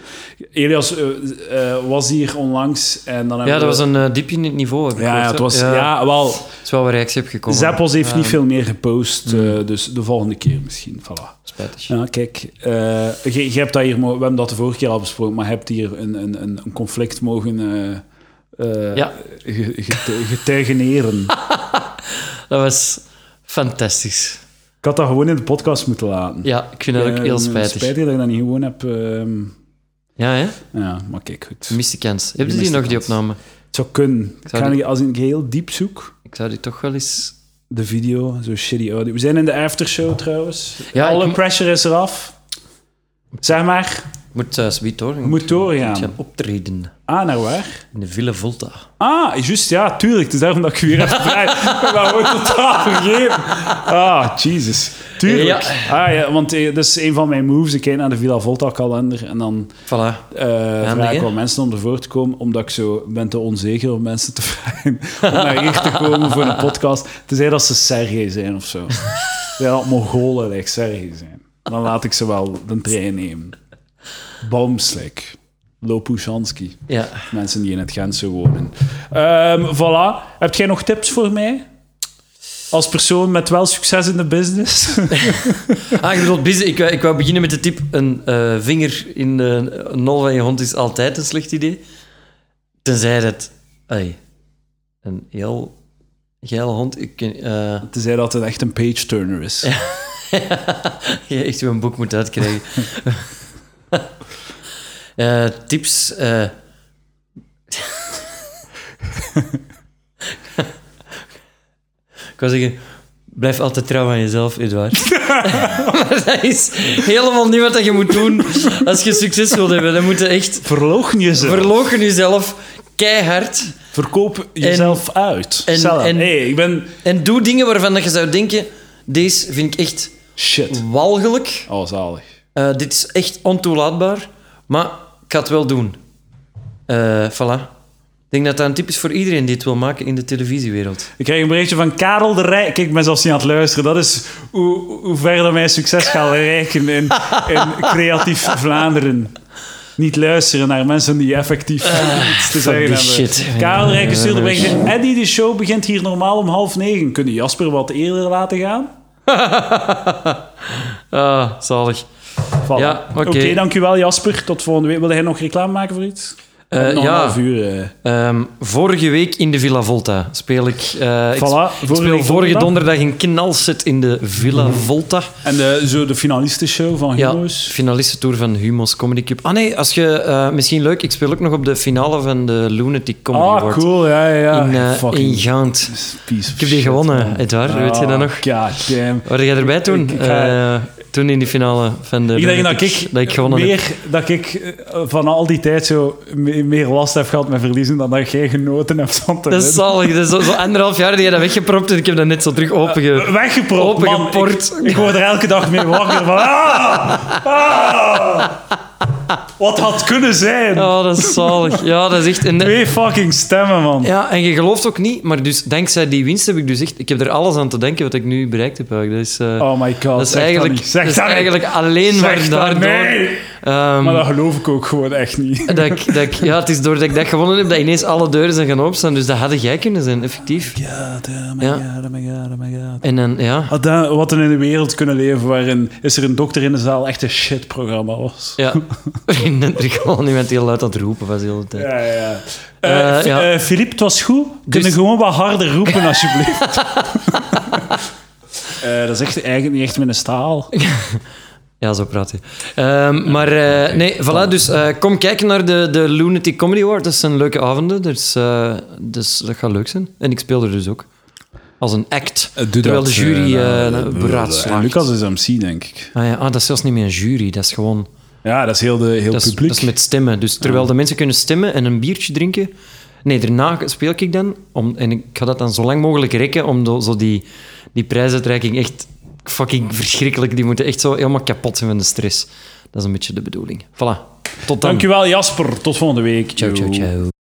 S2: Elias eh, eh, was hier onlangs en dan hebben
S1: ja, dat was
S2: we...
S1: een eh, diepje in het niveau. heb ik
S2: Ja,
S1: gehoord,
S2: ja, het
S1: hè.
S2: was, ja.
S1: Ja,
S2: wel,
S1: Het is wel waar reactie heb gekomen.
S2: Zeppos heeft
S1: Ja, Mm.
S2: niet veel meer gepost, eh, dus de volgende keer misschien, voilà.
S1: Spijtig.
S2: Ja, kijk, eh, je, je hebt dat hier, mo- we hebben dat de vorige keer al besproken, maar je hebt hier een, een, een een conflict mogen eh, eh,
S1: Ja.
S2: ge- gete- getuigeneren.
S1: Dat was fantastisch.
S2: ik had dat gewoon in de podcast moeten laten.
S1: Ja, ik vind dat ook
S2: Eh,
S1: heel spijtig.
S2: Spijtig dat ik dat niet gewoon heb. ehm,
S1: Ja, hè?
S2: ja, maar kijk, goed.
S1: Mist de kans. Heb je
S2: mist
S1: die
S2: de
S1: nog, die
S2: kans.
S1: opname?
S2: Het zou kunnen. Ik
S1: zou
S2: ga
S1: die-
S2: die- als ik heel diep zoek,
S1: Ik zou die toch wel eens...
S2: de video, zo shitty audio. We zijn in de aftershow trouwens.
S1: Ja,
S2: Alle
S1: ik mo-
S2: pressure is eraf. Zeg maar,
S1: Moet uh, Sweet hoor. Ik
S2: moet
S1: moet
S2: doorgaan.
S1: gaan optreden
S2: Ah, naar waar?
S1: in de Villa Volta.
S2: Ah, juist, ja, tuurlijk. Het is daarom dat ik u weer even vraag. Ik ben dat gewoon totaal vergeten. Ah, Jesus. Tuurlijk. Ah, ja, want eh, dat is een van mijn moves. Ik kijk naar de Villa Volta-kalender en dan
S1: Voilà.
S2: eh vraag ik
S1: hè?
S2: wel mensen om ervoor te komen, omdat ik zo ben te onzeker om mensen te vragen om naar hier te komen voor een podcast. Tenzij dat ze Sergej zijn of zo. Ja, dat Mongolen lijkt Sergej zijn. Dan laat ik ze wel de trein nemen. Baumslik. Lopushansky
S1: Ja.
S2: mensen die in het Gentse wonen. Ehm, voilà. Heb jij nog tips voor mij? Als persoon met wel succes in de business?
S1: Ah, je bedoelt business. Ik, wou- ik wou beginnen met de tip: een eh, vinger in de nol van je hond is altijd een slecht idee. Tenzij dat ai, een heel geile hond. Ik, ken- eh
S2: Tenzij dat het echt een page-turner is.
S1: je echt een boek moet uitkrijgen. Eh, tips. eh. ik wou zeggen, blijf altijd trouw aan jezelf, Edouard. maar dat is helemaal niet wat je moet doen als je succes wilt hebben. Dan moet je echt
S2: Verlogen jezelf.
S1: verlogen jezelf keihard.
S2: Verkoop jezelf uit.
S1: en-
S2: Zelf.
S1: en-
S2: hey, ik ben...
S1: En doe dingen waarvan dat je zou denken, deze vind ik echt
S2: Shit.
S1: walgelijk.
S2: Oh, zalig.
S1: Eh, dit is echt ontoelaatbaar, maar ik ga het wel doen. Eh voilà. Ik denk dat dat een tip is voor iedereen die het wil maken in de televisiewereld.
S2: Ik kreeg een berichtje van Karel de Rijk. Kijk, ik ben zelfs niet aan het luisteren. Dat is hoe, hoe verder mijn succes gaat reiken in, in creatief Vlaanderen. Niet luisteren naar mensen die effectief iets te zeggen
S1: Eh, die
S2: hebben.
S1: shit.
S2: Karel de Rijk is stuurde
S1: Ja,
S2: een
S1: ja, ja.
S2: berichtje. Eddie, de show begint hier normaal om half negen. Kun je Jasper wat eerder laten gaan?
S1: Ah, zalig.
S2: Voilà.
S1: Ja, oké.
S2: dankjewel Jasper. Tot volgende week. Wil jij nog reclame maken voor iets?
S1: Eh, Eh,
S2: Nog een half
S1: ja,
S2: uur. eh.
S1: ehm, vorige week in de Villa Volta speel ik. eh, ik
S2: Voilà, vorige
S1: ik speel vorige
S2: week donderdag.
S1: donderdag een knalset in de Villa Volta.
S2: En de, zo de finalistenshow van
S1: Ja,
S2: Humo's.
S1: finalistentour van Humo's Comedy Cup. Ah nee, als je, eh, misschien leuk, ik speel ook nog op de finale van de Lunatic Comedy
S2: ah,
S1: Award
S2: cool. Ja, ja, ja.
S1: in, eh,
S2: Fucking
S1: in Gand.
S2: piece of
S1: Ik heb die
S2: shit,
S1: gewonnen,
S2: man.
S1: Edouard, weet je dat nog?
S2: Ah, God damn.
S1: Waar jij erbij toen?
S2: Ik- ik ga-
S1: Eh, toen in die finale van de
S2: Ik denk dat
S1: Lunatic,
S2: ik,
S1: dat ik gewonnen heb.
S2: meer, dat ik eh, van al die tijd zo me- meer last heb gehad met verliezen dan dat jij genoten hebt van te
S1: Dat is
S2: winnen.
S1: zalig. Dat is zo, zo anderhalf jaar dat jij dat weggepropt en ik heb dat net zo terug
S2: Eh,
S1: openge...
S2: Weggepropt, man.
S1: Opengeport.
S2: Ik, ik word er elke dag mee wakker van... Ah, ah, wat had kunnen zijn?
S1: Ja, dat is zalig. Ja, dat is echt... En,
S2: Twee fucking stemmen, man.
S1: ja, en je gelooft ook niet, maar dus dankzij die winst heb ik dus echt... Ik heb er alles aan te denken wat ik nu bereikt heb eigenlijk. Dat is, eh,
S2: Oh my god.
S1: dat is
S2: zeg
S1: eigenlijk,
S2: niet. Zeg
S1: dat is
S2: dat niet.
S1: eigenlijk alleen
S2: Zeg
S1: maar
S2: dat
S1: daardoor...
S2: nee.
S1: ehm,
S2: Maar dat geloof ik ook gewoon echt niet.
S1: dat ik, dat ik- ja, het is doordat ik dat gewonnen heb, dat ineens alle deuren zijn gaan openstaan. Dus dat hadden jij kunnen zijn, effectief.
S2: Ja,
S1: Ja.
S2: oh my god, oh my god.
S1: En dan, ja...
S2: Had dat- Wat een in de wereld kunnen leven waarin is er een dokter in de zaal echt een shitprogramma was.
S1: Ja. er gewoon iemand heel luid aan het roepen was de hele tijd.
S2: Ja, ja, ja.
S1: Eh,
S2: Eh, F-
S1: ja.
S2: eh, Filip, het was goed. Kun je
S1: Dus-
S2: gewoon wat harder roepen, alsjeblieft? Eh, dat is echt, eigenlijk niet echt mijn staal.
S1: Ja, zo praat hij. Ehm, maar eh, nee, voilà. Dus eh, kom kijken naar de, de Lunatic Comedy Award. Dat zijn leuke avonden. Dus, eh, dus dat gaat leuk zijn. En ik speel er dus ook. Als een act. terwijl de jury eh beraadslaagt.
S2: Lucas is MC, denk ik.
S1: Ah, ja, ah, dat is zelfs niet meer een jury. Dat is gewoon...
S2: Ja, dat is heel, de, heel
S1: Dat is,
S2: publiek.
S1: dat is met stemmen. Dus terwijl de mensen kunnen stemmen en een biertje drinken... Nee, daarna speel ik dan. Om, en ik ga dat dan zo lang mogelijk rekken om do- zo die, die prijsuitreiking echt fucking verschrikkelijk... Die moeten echt zo helemaal kapot zijn van de stress. Dat is een beetje de bedoeling. Voilà. Tot dan.
S2: Dankjewel, Jasper. Tot volgende week.
S1: Ciao, ciao,
S2: Yo.
S1: ciao.